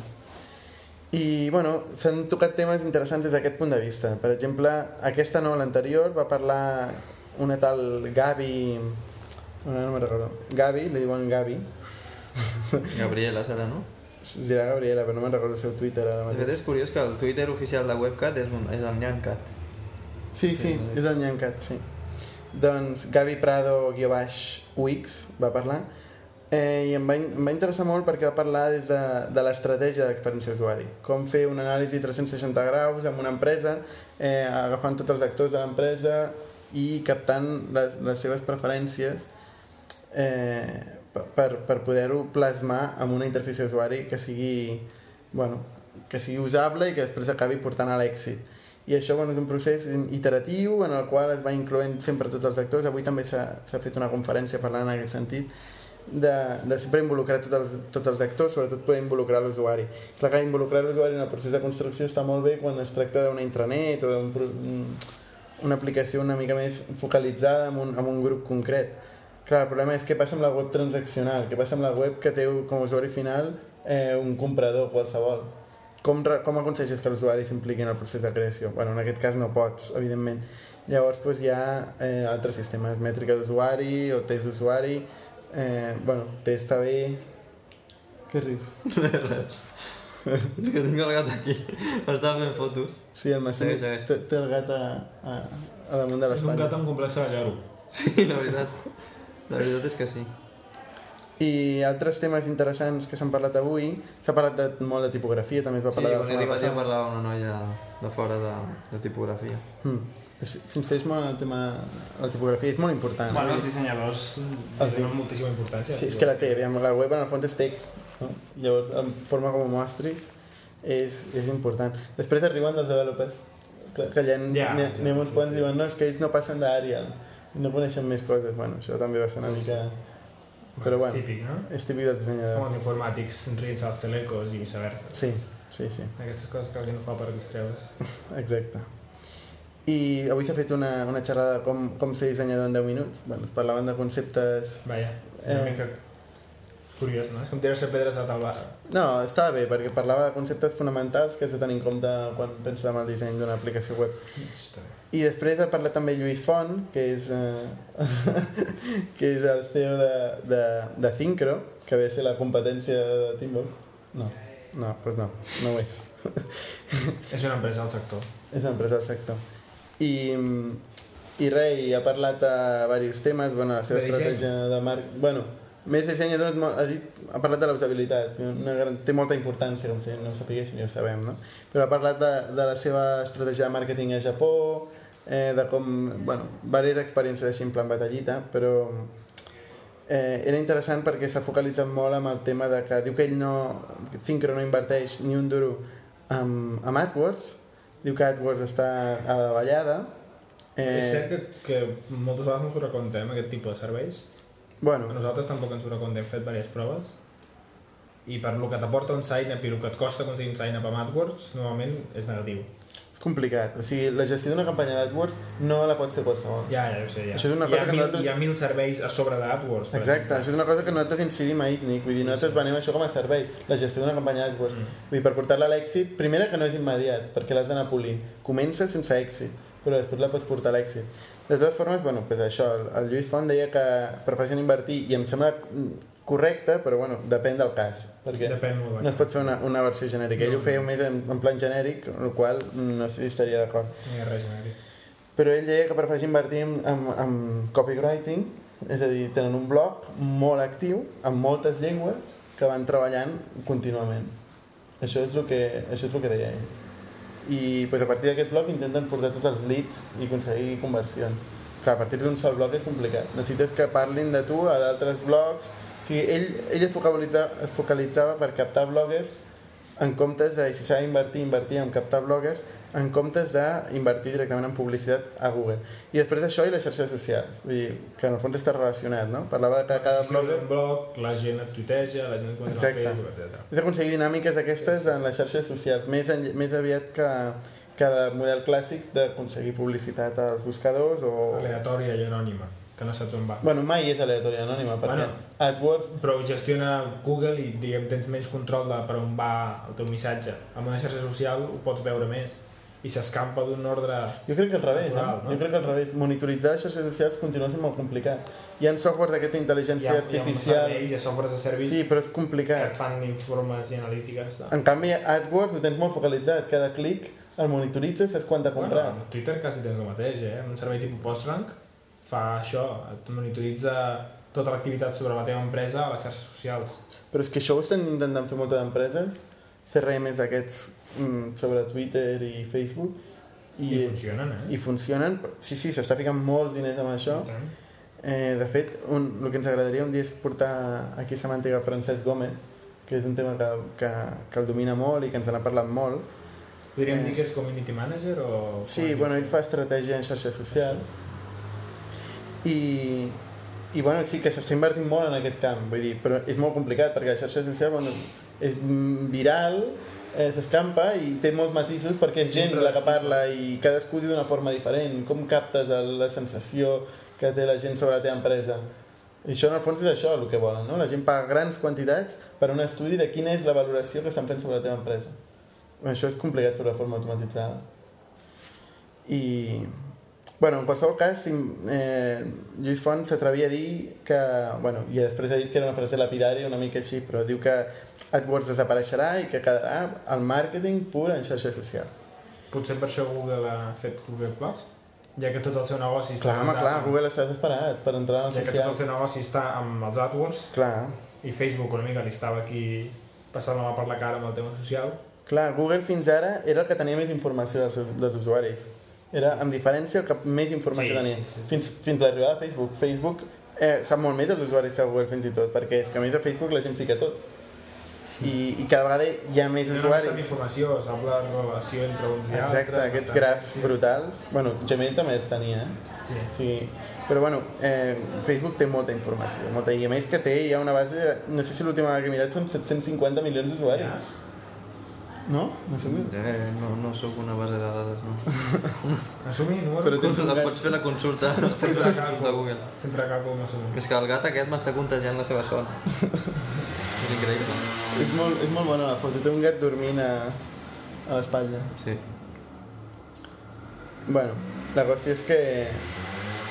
Speaker 1: I, bueno, s'han tocat temes interessants des d'aquest punt de vista. Per exemple, aquesta no, l'anterior, va parlar una tal Gavi... No, no me'n recordo. Gavi, li diuen Gavi.
Speaker 2: Gabriela serà, no?
Speaker 1: Es dirà Gabriela, però no me'n recordo el seu Twitter ara
Speaker 2: De fet,
Speaker 1: mateix.
Speaker 2: és curiós que el Twitter oficial de Webcat és, un, és el Nyancat.
Speaker 1: Sí, sí, és el Nyancat, sí. Doncs Gavi Prado, guió baix, Wix, va parlar. Eh, I em va, in- em va interessar molt perquè va parlar des de, de l'estratègia de l'experiència d'usuari. Com fer una anàlisi 360 graus amb una empresa, eh, agafant tots els actors de l'empresa i captant les, les seves preferències eh, per- per, per poder-ho plasmar amb una interfície d'usuari que sigui bueno, que sigui usable i que després acabi portant a l'èxit. I això bueno, és un procés iteratiu en el qual es va incloent sempre tots els actors. Avui també s'ha s'ha fet una conferència parlant en aquest sentit de, de sempre involucrar tots els, tots els actors, sobretot poder involucrar l'usuari. Clar que involucrar l'usuari en el procés de construcció està molt bé quan es tracta d'una intranet o d'un pro- una aplicació una mica més focalitzada en un, en un grup concret. Clar, el problema és què passa amb la web transaccional, què passa amb la web que té com a usuari final eh, un comprador qualsevol. Com, re- com aconsegueixes que l'usuari s'impliqui en el procés de creació? Bueno, en aquest cas no pots, evidentment. Llavors doncs, hi ha eh, altres sistemes, mètrica d'usuari o test d'usuari, eh, bueno, test AB... Què rius?
Speaker 2: Res. és que tinc el gat aquí. M'està fent fotos.
Speaker 1: Sí, el Massim
Speaker 2: Segueix, segueix.
Speaker 1: té, té el gat a, a, a damunt de
Speaker 3: És un
Speaker 1: l'espatlla.
Speaker 3: gat amb complexa de lloro.
Speaker 2: Sí, la veritat. La veritat és que sí.
Speaker 1: I altres temes interessants que s'han parlat avui, s'ha parlat de, molt de tipografia, també es va
Speaker 2: Sí,
Speaker 1: parlar de la
Speaker 2: quan he
Speaker 1: setmana
Speaker 2: arribat ja
Speaker 1: passada.
Speaker 2: parlava una noia de fora de, de tipografia.
Speaker 1: Mm. S'insisteix molt en el tema la tipografia, és molt important.
Speaker 3: Bueno, els dissenyadors li donen moltíssima importància.
Speaker 1: Ah, sí, és que la té, aviam, la web en el fons és text, no? um, llavors en forma com ho mostris és, és important. Després arriben dels developers, Clar, que allà n'hi
Speaker 3: Ja.
Speaker 1: yeah. ha uns quants diuen no, és que ells no passen d'Arial, no coneixen més coses. Bueno, això també va ser una mica... Però
Speaker 3: És
Speaker 1: bueno,
Speaker 3: típic, no?
Speaker 1: és típic dels
Speaker 3: Com els
Speaker 1: dissenyadors.
Speaker 3: informàtics rient als telecos i viceversa.
Speaker 1: Sí, sí, sí,
Speaker 3: Aquestes coses que alguien no fa per distreure's.
Speaker 1: exacte. I avui s'ha fet una, una xerrada de com, com ser dissenyador en 10 minuts. Bueno, es parlaven de conceptes...
Speaker 3: Vaja, una
Speaker 1: Eh.
Speaker 3: mica... És curiós, no? És com tirar-se pedres a la taula.
Speaker 1: No, estava bé, perquè parlava de conceptes fonamentals que has de tenir en compte quan penses en el disseny d'una aplicació web.
Speaker 3: Està bé.
Speaker 1: I després ha parlat també Lluís Font, que és, eh, que és el CEO de, de, de Syncro, que ve a ser la competència de Teambox. No, no, doncs pues no, no ho és.
Speaker 3: És una empresa del sector.
Speaker 1: És una empresa del sector. I, i res, i ha parlat de diversos temes, bueno, la seva
Speaker 3: De disseny.
Speaker 1: estratègia de marc... Bueno, més disseny ha, donat, molt- ha, dit, ha parlat de la usabilitat, una gran, té molta importància, com si no ho sapiguéssim, ja ho sabem, no? Però ha parlat de, de la seva estratègia de màrqueting a Japó, eh, de com, bueno, diverses experiències així en plan batallita, però eh, era interessant perquè s'ha focalitzat molt amb el tema de que diu que ell no, que Syncro no inverteix ni un duro amb, amb AdWords, diu que AdWords està a la davallada,
Speaker 3: Eh... És cert
Speaker 1: eh,
Speaker 3: que, que moltes vegades no s'ho recomptem, aquest tipus de serveis. A
Speaker 1: bueno,
Speaker 3: nosaltres tampoc ens ho recomptem, hem fet diverses proves. I per lo que t'aporta un sign-up i el que et costa aconseguir un sign-up amb AdWords, normalment és negatiu.
Speaker 1: és complicat, o sigui, la gestió d'una campanya d'AdWords no la pot fer qualsevol.
Speaker 3: Ja, ja, ho sé, ja.
Speaker 1: Això és una
Speaker 3: hi,
Speaker 1: cosa
Speaker 3: ha
Speaker 1: que
Speaker 3: mil,
Speaker 1: nosaltres-
Speaker 3: hi ha mil serveis a sobre d'AdWords, per
Speaker 1: Exacte, això és una cosa que nosaltres incidim a ITNIC, vull dir, nosaltres venem això com a servei, la gestió d'una campanya d'AdWords. Vull dir, per portar-la a l'èxit, primera que no és immediat, perquè l'has d'anar polint. Comença sense èxit, però després la pots portar a l'èxit. De totes formes, bueno, pues això, el- el Lluís Font deia que prefereixen invertir, i em sembla mm, correcte, però bueno, depèn del cas, perquè
Speaker 3: exemple. Depèn molt
Speaker 1: no es pot fer una, una versió genèrica. Ell ho feia més en, en plan genèric, amb el qual mm, no sé si estaria d'acord.
Speaker 3: No hi ha res genèric.
Speaker 1: Però ell deia que prefereix invertir en, en, en copywriting, és a dir, tenen un blog molt actiu, amb moltes llengües, que van treballant contínuament. Això és el que, això és el que deia ell. I doncs, a partir d'aquest blog intenten portar tots els leads i aconseguir conversions. Clar, a partir d'un sol blog és complicat. Necessites que parlin de tu a d'altres blogs. O sigui, ell, ell es, focalitzava, es focalitzava per captar bloggers en comptes de, si s'ha d'invertir, invertir en captar bloggers, en comptes d'invertir directament en publicitat a Google. I després això i les xarxes socials, vull dir, que en el fons està relacionat, no? Parlava de que cada
Speaker 3: Escriure
Speaker 1: blogger
Speaker 3: un blog, la gent et tuiteja, la gent et contra
Speaker 1: Exacte.
Speaker 3: el Facebook, etc.
Speaker 1: és aconseguir dinàmiques d'aquestes en les xarxes socials, més, en, més aviat que, que el model clàssic d'aconseguir publicitat als buscadors o...
Speaker 3: Aleatòria i anònima, que no saps on va.
Speaker 1: Bueno, mai és aleatòria anònima, perquè
Speaker 3: Bueno.
Speaker 1: AdWords...
Speaker 3: Però ho gestiona Google i diguem, tens menys control de per on va el teu missatge. Amb una xarxa social ho pots veure més i s'escampa d'un ordre...
Speaker 1: Jo crec que al revés,
Speaker 3: Natural,
Speaker 1: no?
Speaker 3: no?
Speaker 1: Jo crec que al revés. Monitoritzar les xarxes socials continua sent molt complicat. Hi ha software d'aquesta
Speaker 3: Hi ha-
Speaker 1: intel·ligència
Speaker 3: Hi ha, uns
Speaker 1: artificial...
Speaker 3: serveis, hi ha softwares de servis
Speaker 1: Sí, però és
Speaker 3: que
Speaker 1: complicat.
Speaker 3: et fan informes i analítiques. De...
Speaker 1: En canvi, AdWords ho tens molt focalitzat. Cada clic el monitoritzes, saps quan t'ha
Speaker 3: Bueno,
Speaker 1: comprat.
Speaker 3: amb Twitter quasi tens el mateix, eh? Amb un servei tipus PostRank fa això, et monitoritza tota l'activitat sobre la teva empresa a les xarxes socials.
Speaker 1: Però és que això ho estan intentant fer moltes empreses, fer més d'aquests mm, sobre Twitter i Facebook,
Speaker 3: I,
Speaker 1: i,
Speaker 3: funcionen, eh?
Speaker 1: i funcionen. Sí, sí, s'està ficant molts diners amb això.
Speaker 3: tant.
Speaker 1: Eh, de fet, un, el que ens agradaria un dia és portar aquí a Samàntica Francesc Gómez, que és un tema que, que, que el domina molt i que ens n'ha parlat molt.
Speaker 3: Podríem
Speaker 1: Eh.
Speaker 3: dir que és community manager o...
Speaker 1: Sí, bueno, ell fa estratègia en xarxes socials i, i bueno, sí que s'està invertint molt en aquest camp, vull dir, però és molt complicat perquè la xarxa social bueno, és mm, viral, eh, s'escampa i té molts matisos perquè és gent la que parla i cadascú diu d'una forma diferent, com captes el- la sensació que té la gent sobre la teva empresa. I això en el fons és això el que volen, no? La gent paga grans quantitats per un estudi de quina és la valoració que estan fent sobre la teva empresa. Això és complicat fer de forma automatitzada. I, bueno, en qualsevol cas, si, eh, Lluís Font s'atrevia a dir que... Bueno, I després ha dit que era una frase lapidària, una mica així, però diu que AdWords desapareixerà i que quedarà el màrqueting pur en xarxa social.
Speaker 3: Potser per això Google ha fet Google Plus, ja que tot el seu negoci està...
Speaker 1: Clar, home,
Speaker 3: basat
Speaker 1: clar,
Speaker 3: en-
Speaker 1: Google està desesperat per entrar en el
Speaker 3: Ja que tot el
Speaker 1: social.
Speaker 3: seu negoci està amb els AdWords
Speaker 1: Clar,
Speaker 3: i Facebook una mica li estava aquí passant la mà per la cara amb el tema social,
Speaker 1: clar, Google fins ara era el que tenia més informació dels, seus- dels usuaris. Era, amb diferència, el que més informació
Speaker 3: Sí,
Speaker 1: tenia.
Speaker 3: sí, sí.
Speaker 1: Fins, fins l'arribada de Facebook. Facebook eh, sap molt més dels usuaris que Google, fins i tot, perquè és que a més a Facebook la gent fica tot. i, i cada vegada hi ha més
Speaker 3: No només amb
Speaker 1: usuaris.
Speaker 3: informació, sap la relació entre uns i altres.
Speaker 1: Exacte, aquests
Speaker 3: per tant.
Speaker 1: grafs brutals. Bueno, Gmail també els tenia, eh?
Speaker 3: Sí.
Speaker 1: Sí. Però bueno, eh, Facebook té molta informació, molta, i a més que té ja una base, de, no sé si l'última vegada que he mirat són 750 milions d'usuaris.
Speaker 3: Ja.
Speaker 1: No? No sé.
Speaker 2: Eh, no, no sóc una base de dades, no.
Speaker 3: Assumir número
Speaker 1: Però tens un
Speaker 2: La
Speaker 1: gat.
Speaker 2: pots fer la consulta
Speaker 3: Sempre
Speaker 2: de
Speaker 3: calco,
Speaker 2: Google.
Speaker 3: sempre calco amb assumir.
Speaker 2: És que el gat aquest m'està contagiant la seva son. és increïble.
Speaker 1: És molt, és molt bona la foto, té un gat dormint a, a l'espatlla.
Speaker 2: Sí.
Speaker 1: Bueno, la qüestió és que,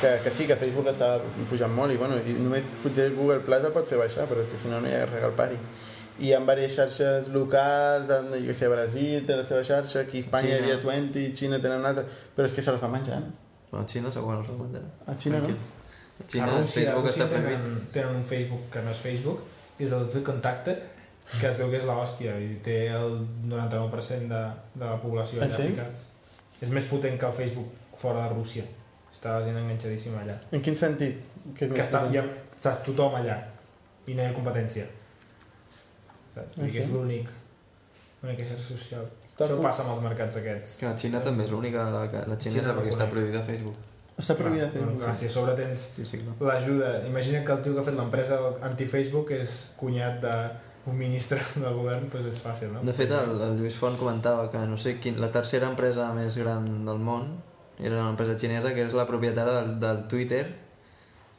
Speaker 1: que, que sí, que Facebook està pujant molt i, bueno, i només potser Google Plus el pot fer baixar, però és que si no, no hi ha res al pari. I hi ha diverses xarxes locals, en, jo què sé, Brasil té la seva xarxa, aquí a Espanya hi havia
Speaker 2: Xina.
Speaker 1: 20, Xina tenen una altra, però és que se l'estan menjant.
Speaker 2: Però a Xina segur que no se'l menjarà.
Speaker 1: A Xina no?
Speaker 2: A Xina Facebook està prohibit.
Speaker 3: tenen, tenen un Facebook que no és Facebook, que és el The Contacted, que es veu que és l'hòstia, i té el 99% de, de la població
Speaker 1: Ah,
Speaker 3: allà
Speaker 1: sí?
Speaker 3: ficats. És més potent que el Facebook fora de Rússia. Està la gent enganxadíssima allà.
Speaker 1: En quin sentit? és
Speaker 3: Que està,
Speaker 1: més-
Speaker 3: hi ha, està tothom allà, i no hi ha competència. Saps? Vull dir que
Speaker 1: Ah, sí?
Speaker 3: és l'únic l'única xarxa social.
Speaker 1: Està
Speaker 3: Això
Speaker 1: pu-
Speaker 3: passa amb els mercats aquests.
Speaker 2: Que la Xina també és l'única, la, que- la Xina,
Speaker 3: Xina
Speaker 2: és la
Speaker 3: no
Speaker 2: perquè està
Speaker 3: conec.
Speaker 2: prohibida a Facebook.
Speaker 1: Està prohibida fer
Speaker 3: Clar, si a sobre tens
Speaker 2: Sí, sí, clar.
Speaker 3: l'ajuda. Imagina't que el tio que ha fet l'empresa anti-Facebook és cunyat d'un ministre del govern, doncs és fàcil, no?
Speaker 2: De fet, el, el Lluís Font comentava que no sé quin, la tercera empresa més gran del món era una empresa xinesa que és la propietària del, del Twitter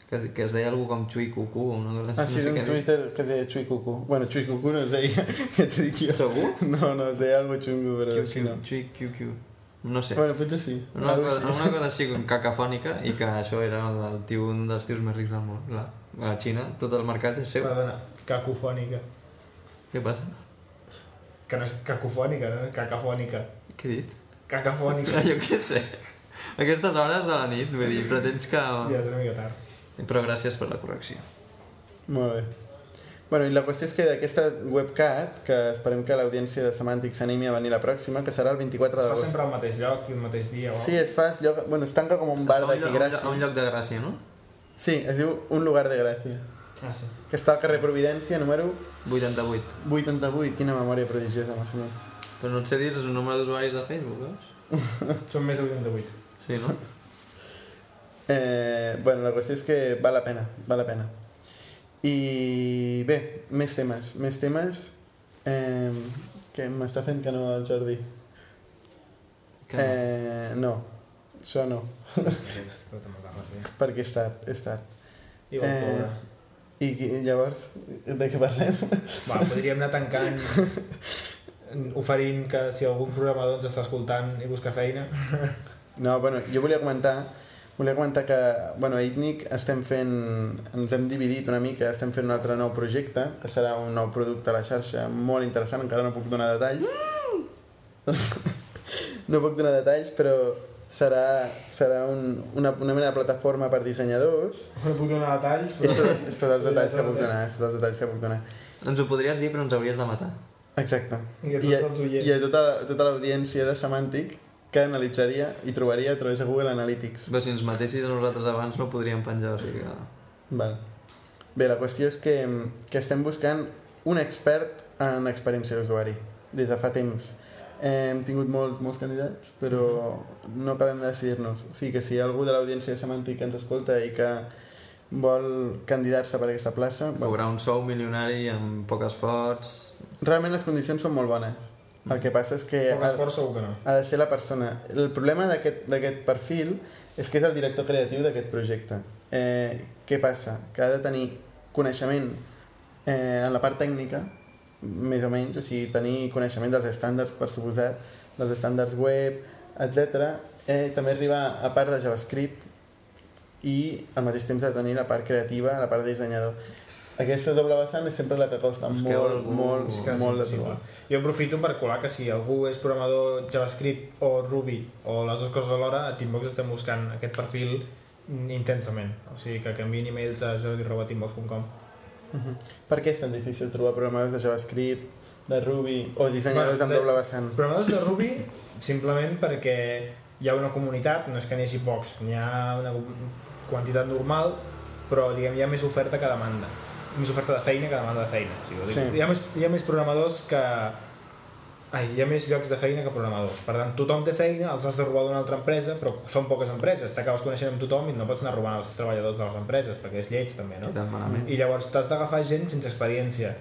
Speaker 2: que, es- que es deia algú com Chui Cucú o no, no,
Speaker 1: Ah, sí,
Speaker 2: no
Speaker 1: és
Speaker 2: sé
Speaker 1: un
Speaker 2: què dir.
Speaker 1: Twitter que es deia Chui Cucu. Bueno, Chui Cucu no es deia, ja t'ho dic jo.
Speaker 2: Segur?
Speaker 1: No, no, es deia algo xungo, però
Speaker 2: Qiu,
Speaker 1: sí,
Speaker 2: qiu,
Speaker 1: no.
Speaker 2: Chui QQ. No sé.
Speaker 1: Bueno, potser sí.
Speaker 2: Una,
Speaker 1: Algo
Speaker 2: cosa,
Speaker 1: així.
Speaker 2: una cosa així com cacafònica i que això era el, el tio, un dels tios més rics del món. La, a la Xina, tot el mercat és seu.
Speaker 3: Perdona, cacofònica.
Speaker 2: Què passa?
Speaker 3: Que no és cacofònica, no? És cacafònica.
Speaker 2: Què he dit?
Speaker 3: Cacafònica.
Speaker 2: Ah, jo què sé. A Aquestes hores de la nit, vull dir, pretens que...
Speaker 3: Ja és una mica tard.
Speaker 2: Però gràcies per la correcció.
Speaker 1: Molt bé. Bueno, i la qüestió és que d'aquesta webcat, que esperem que l'audiència de Semàntics s'animi a venir la pròxima, que serà el 24
Speaker 3: Es fa
Speaker 1: d'agost.
Speaker 3: sempre al mateix lloc i el mateix dia, o?
Speaker 1: Sí, es fa, es, lloc, bueno, es tanca com un bar
Speaker 2: Es fa un
Speaker 1: d'aquí,
Speaker 2: lloc-
Speaker 1: Gràcia.
Speaker 2: A un lloc de Gràcia, no?
Speaker 1: Sí, es diu Un lugar de Gràcia,
Speaker 3: Ah, sí.
Speaker 1: que està al carrer Providència, número
Speaker 2: 88.
Speaker 1: 88. Quina memòria prodigiosa, Massimo.
Speaker 2: Però no et sé dir el nombre d'usuaris de Facebook, veus?
Speaker 3: Són més de 88.
Speaker 2: Sí, no?
Speaker 1: Eh, bueno, la qüestió és que val la pena, val la pena. I bé, més temes, més temes. Eh, que m'està fent que no el Jordi.
Speaker 2: Que no.
Speaker 1: Eh, no, això no,
Speaker 3: Però te m'acaba de fer.
Speaker 1: perquè és tard, és tard.
Speaker 3: I vol
Speaker 1: Eh.
Speaker 3: ploure.
Speaker 1: I, qui- llavors, de què parlem?
Speaker 3: Va, podríem anar tancant oferint que si algun programador ens està escoltant i busca feina...
Speaker 1: No, bueno, jo volia comentar volia comentar que, bueno, a Itnic estem fent, ens hem dividit una mica, estem fent un altre nou projecte, que serà un nou producte a la xarxa molt interessant, encara no puc donar detalls.
Speaker 4: Mm!
Speaker 1: no puc donar detalls, però serà, serà un, una, una mena de plataforma per dissenyadors.
Speaker 4: No puc donar detalls,
Speaker 1: És
Speaker 4: però...
Speaker 1: tot, és tot els detalls que puc donar, és tots els detalls que puc donar.
Speaker 2: Ens ho podries dir, però ens hauries de matar.
Speaker 1: Exacte.
Speaker 4: I a tots els oients.
Speaker 1: I a tota, tota l'audiència de Semàntic que analitzaria i trobaria a través de Google Analytics.
Speaker 2: Però si ens matessis a nosaltres abans no podríem penjar, o sigui que...
Speaker 1: Val. Bé, la qüestió és que, mm, que estem buscant un expert en experiència d'usuari des de fa temps. Eh, Hem tingut molt, molts candidats, però no acabem de decidir-nos. O sigui que si hi ha algú de l'audiència de Semàntic que ens escolta i que vol candidar-se per aquesta plaça, bueno,
Speaker 2: Cobrar un sou milionari amb poc esforç...
Speaker 1: realment les condicions són molt bones. El que passa és que
Speaker 3: Poc
Speaker 1: ha,
Speaker 3: esforç segur que no.
Speaker 1: ha de ser la persona. El problema d'aquest d'aquest perfil és que és el director creatiu d'aquest projecte. Eh, què passa? Que ha de tenir coneixement eh, en la part tècnica, més o menys, o sigui, tenir coneixement dels estàndards, per suposat, dels estàndards web, etc. Eh, també arribar a part de JavaScript i al mateix temps de tenir la part creativa, la part de dissenyador. Aquesta doble vessant és sempre la que costa
Speaker 2: Busqueu
Speaker 1: molt,
Speaker 2: algú-
Speaker 1: molt,
Speaker 3: És que és
Speaker 1: molt de
Speaker 3: impossible.
Speaker 1: trobar.
Speaker 3: Jo aprofito per colar que si algú és programador JavaScript o Ruby o les dues coses alhora, a Teambox estem buscant aquest perfil intensament. O sigui, que canviïn emails a jordi.teambox.com
Speaker 1: Mhm. Per què és tan difícil trobar programadors de JavaScript, de Ruby o dissenyadors
Speaker 3: Bueno,
Speaker 1: amb
Speaker 3: de-
Speaker 1: doble vessant?
Speaker 3: Programadors de Ruby, simplement perquè hi ha una comunitat, no és que n'hi hagi pocs, n'hi ha una quantitat normal, però diguem hi ha més oferta que demanda. més oferta de feina que demanda de feina. O sigui, ho dic,
Speaker 1: Sí.
Speaker 3: hi, ha més, hi ha més programadors que... Ai, hi ha més llocs de feina que programadors. Per tant, tothom té feina, els has de robar d'una altra empresa, però són poques empreses. T'acabes coneixent amb tothom i no pots anar robant els treballadors de les empreses, perquè és lleig també, no?
Speaker 2: Tan malament.
Speaker 3: I llavors t'has d'agafar gent sense experiència.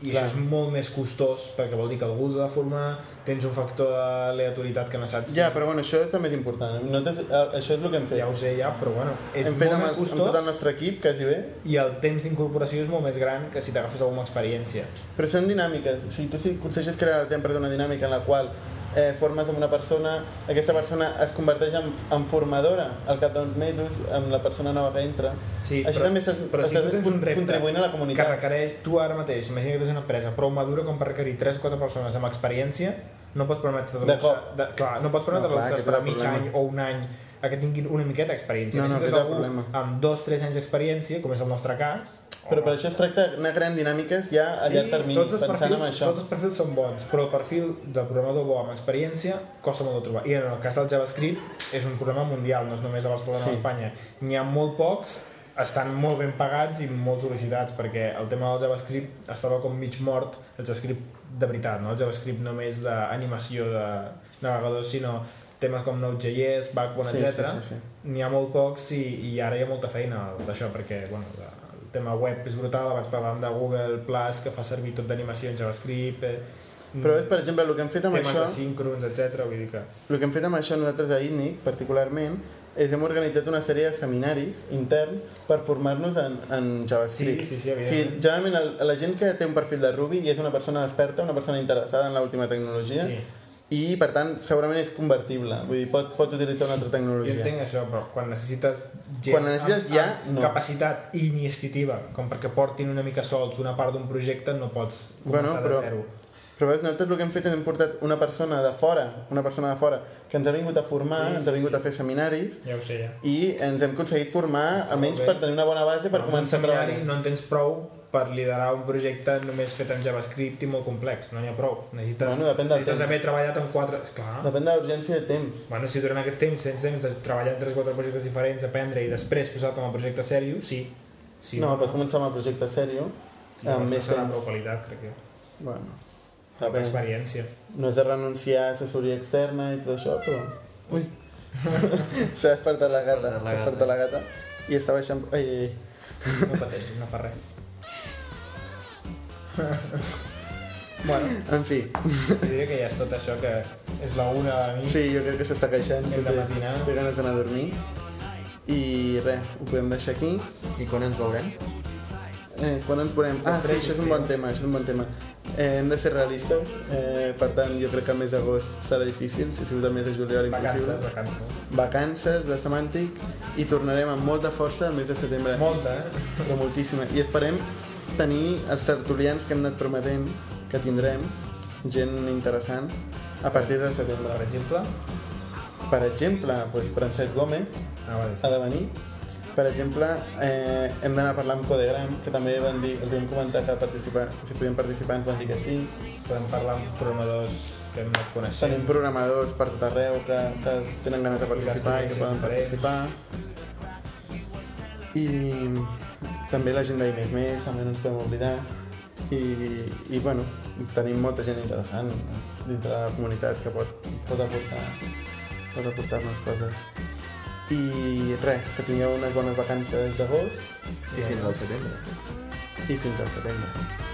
Speaker 3: I
Speaker 1: Clar.
Speaker 3: això és molt més costós, perquè vol dir que algú s'ha de formar, tens un factor d'aleatoritat que no saps...
Speaker 1: Ja, però bueno, això també és important. No t'has- eh, això és el que hem fet.
Speaker 3: ja ho sé, ja, però bueno, és
Speaker 1: hem fet
Speaker 3: molt
Speaker 1: amb,
Speaker 3: més
Speaker 1: els, amb tot
Speaker 3: costós
Speaker 1: el nostre equip, quasi bé.
Speaker 3: i el temps d'incorporació és molt més gran que si t'agafes alguna experiència.
Speaker 1: Però són dinàmiques. Si tu si aconsegueixes crear a la teva empresa una dinàmica en la qual eh, formes amb una persona, aquesta persona es converteix en, en formadora al cap d'uns mesos amb la persona nova que entra.
Speaker 3: Sí,
Speaker 1: Així
Speaker 3: però,
Speaker 1: també estàs,
Speaker 3: però si
Speaker 1: estàs
Speaker 3: tu tens un repte
Speaker 1: contribuint a la
Speaker 3: que
Speaker 1: comunitat.
Speaker 3: requereix, tu ara mateix, imagina que tens una empresa prou madura com per requerir 3 o 4 persones amb experiència, no pots permetre
Speaker 1: De
Speaker 3: relaxar,
Speaker 1: cop.
Speaker 3: de, clar, no pots permetre
Speaker 1: No,
Speaker 3: no,
Speaker 1: clar,
Speaker 3: clar,
Speaker 1: aquest
Speaker 3: per
Speaker 1: és el
Speaker 3: mig any
Speaker 1: problema.
Speaker 3: o un any a que tinguin una miqueta d'experiència.
Speaker 1: No, no, aquest és
Speaker 3: Necessites
Speaker 1: el
Speaker 3: algú
Speaker 1: problema.
Speaker 3: amb 2-3 anys d'experiència, com és el nostre cas,
Speaker 1: Però per això es tracta d'anar creant dinàmiques ja a llarg termini,
Speaker 3: tots els
Speaker 1: pensant en
Speaker 3: perfils,
Speaker 1: això.
Speaker 3: Tots els perfils són bons, però el perfil de programador bo amb experiència costa molt de trobar. I en el cas del JavaScript és un problema mundial, no és només a Barcelona
Speaker 1: Sí.
Speaker 3: o a Espanya. N'hi ha molt pocs, estan molt ben pagats i molt sol·licitats, perquè el tema del JavaScript estava com mig mort, el JavaScript de veritat, no el JavaScript només d'animació de navegadors, sinó temes com Node.js, Backbone,
Speaker 1: Sí, sí,
Speaker 3: etc.
Speaker 1: sí, sí.
Speaker 3: N'hi ha molt pocs i, i ara hi ha molta feina d'això, perquè bueno, la, el tema web és brutal, abans parlàvem de Google Plus, que fa servir tot d'animació en JavaScript, eh,
Speaker 1: Però és, per exemple, el que hem fet amb
Speaker 3: temes
Speaker 1: això...
Speaker 3: asíncrons, etc. Vull dir que...
Speaker 1: El que hem fet amb això nosaltres a ITNIC, particularment, és hem organitzat una sèrie de seminaris interns per formar-nos en, en JavaScript.
Speaker 3: Sí, sí, sí,
Speaker 1: o sigui,
Speaker 3: evidentment.
Speaker 1: generalment el- la gent que té un perfil de Ruby i és una persona desperta, una persona interessada en l'última tecnologia,
Speaker 3: Sí.
Speaker 1: i per tant segurament és convertible, vull dir, pot, pot utilitzar una altra
Speaker 3: Jo
Speaker 1: tecnologia.
Speaker 3: entenc això, però quan necessites gent
Speaker 1: Quan necessites
Speaker 3: amb,
Speaker 1: ja,
Speaker 3: amb
Speaker 1: no.
Speaker 3: capacitat iniciativa, com perquè portin una mica sols una part d'un projecte, no pots
Speaker 1: Bueno,
Speaker 3: començar
Speaker 1: però-
Speaker 3: de zero.
Speaker 1: Però veus, nosaltres el que hem fet és hem portat una persona de fora, una persona de fora, que ens ha vingut a formar,
Speaker 3: Sí,
Speaker 1: ens ha
Speaker 3: sí,
Speaker 1: vingut
Speaker 3: sí.
Speaker 1: a fer seminaris,
Speaker 3: Ja ho sé, ja.
Speaker 1: i ens hem aconseguit formar,
Speaker 3: Està
Speaker 1: almenys
Speaker 3: molt bé.
Speaker 1: per tenir una bona base per
Speaker 3: Amb
Speaker 1: començar a
Speaker 3: un seminari
Speaker 1: treballar.
Speaker 3: no en tens prou per liderar un projecte només fet en JavaScript i molt complex, no n'hi ha prou. Necessites,
Speaker 1: Bueno, depèn del
Speaker 3: necessites
Speaker 1: temps.
Speaker 3: haver treballat en quatre... Esclar.
Speaker 1: Depèn de l'urgència de temps.
Speaker 3: Bueno, si durant aquest temps tens temps de treballar en 3 o 4 projectes diferents, aprendre i després posar-te en el projecte seriós, sí. sí
Speaker 1: no, pots començar amb el projecte sèrio, amb
Speaker 3: Llavors no
Speaker 1: més
Speaker 3: serà prou
Speaker 1: temps.
Speaker 3: qualitat, crec jo.
Speaker 1: Bueno,
Speaker 3: Amb
Speaker 1: depèn.
Speaker 3: experiència.
Speaker 1: No has de renunciar a assessoria externa i tot això, però... Ui! S'ha despertat la gata,
Speaker 2: Despertat
Speaker 1: s'ha
Speaker 2: la
Speaker 1: despertat la gata. I està baixant... Ai, ai, ai.
Speaker 3: No pateixis, no fa res. bueno,
Speaker 1: En fi,
Speaker 3: jo diria que ja és tot això que és la una de la nit.
Speaker 1: sí, jo crec que s'està queixant.
Speaker 3: Hem de
Speaker 1: té-
Speaker 3: matinar.
Speaker 1: Té ganes d'anar a dormir. I res, ho podem deixar aquí.
Speaker 2: I quan ens veurem?
Speaker 1: Eh, quan ens veurem? Ah, sí,
Speaker 3: Després,
Speaker 1: això és un
Speaker 3: sí.
Speaker 1: bon tema, això és un bon tema. Eh, hem de ser realistes, eh, per tant, jo crec que el mes d'agost serà difícil, si ha sigut el mes de juliol impossible.
Speaker 3: Vacances, vacances.
Speaker 1: vacances de semàntic i tornarem amb molta força el mes de setembre,
Speaker 3: Molta, eh?
Speaker 1: però moltíssima. I esperem tenir els tertulians que hem anat prometent que tindrem, gent interessant, a partir de setembre.
Speaker 3: Per exemple,
Speaker 1: Per exemple, doncs Francesc Gómez
Speaker 3: ah, vale, sí.
Speaker 1: ha de venir. Per exemple, eh, hem d'anar a parlar amb Codegram, que també van dir, els vam comentar que participar, si podien participar ens van dir que sí.
Speaker 3: podem parlar amb programadors que hem anat coneixent.
Speaker 1: Tenim programadors per tot arreu que, que tenen ganes de participar i que poden participar. I també la gent d'I més més, també no ens podem oblidar. I, i bueno, tenim molta gent interessant dintre de la comunitat que pot, pot aportar pot aportar-nos coses. I res, que tingueu unes bones vacances d'agost
Speaker 2: I fins al setembre.
Speaker 1: i fins al setembre.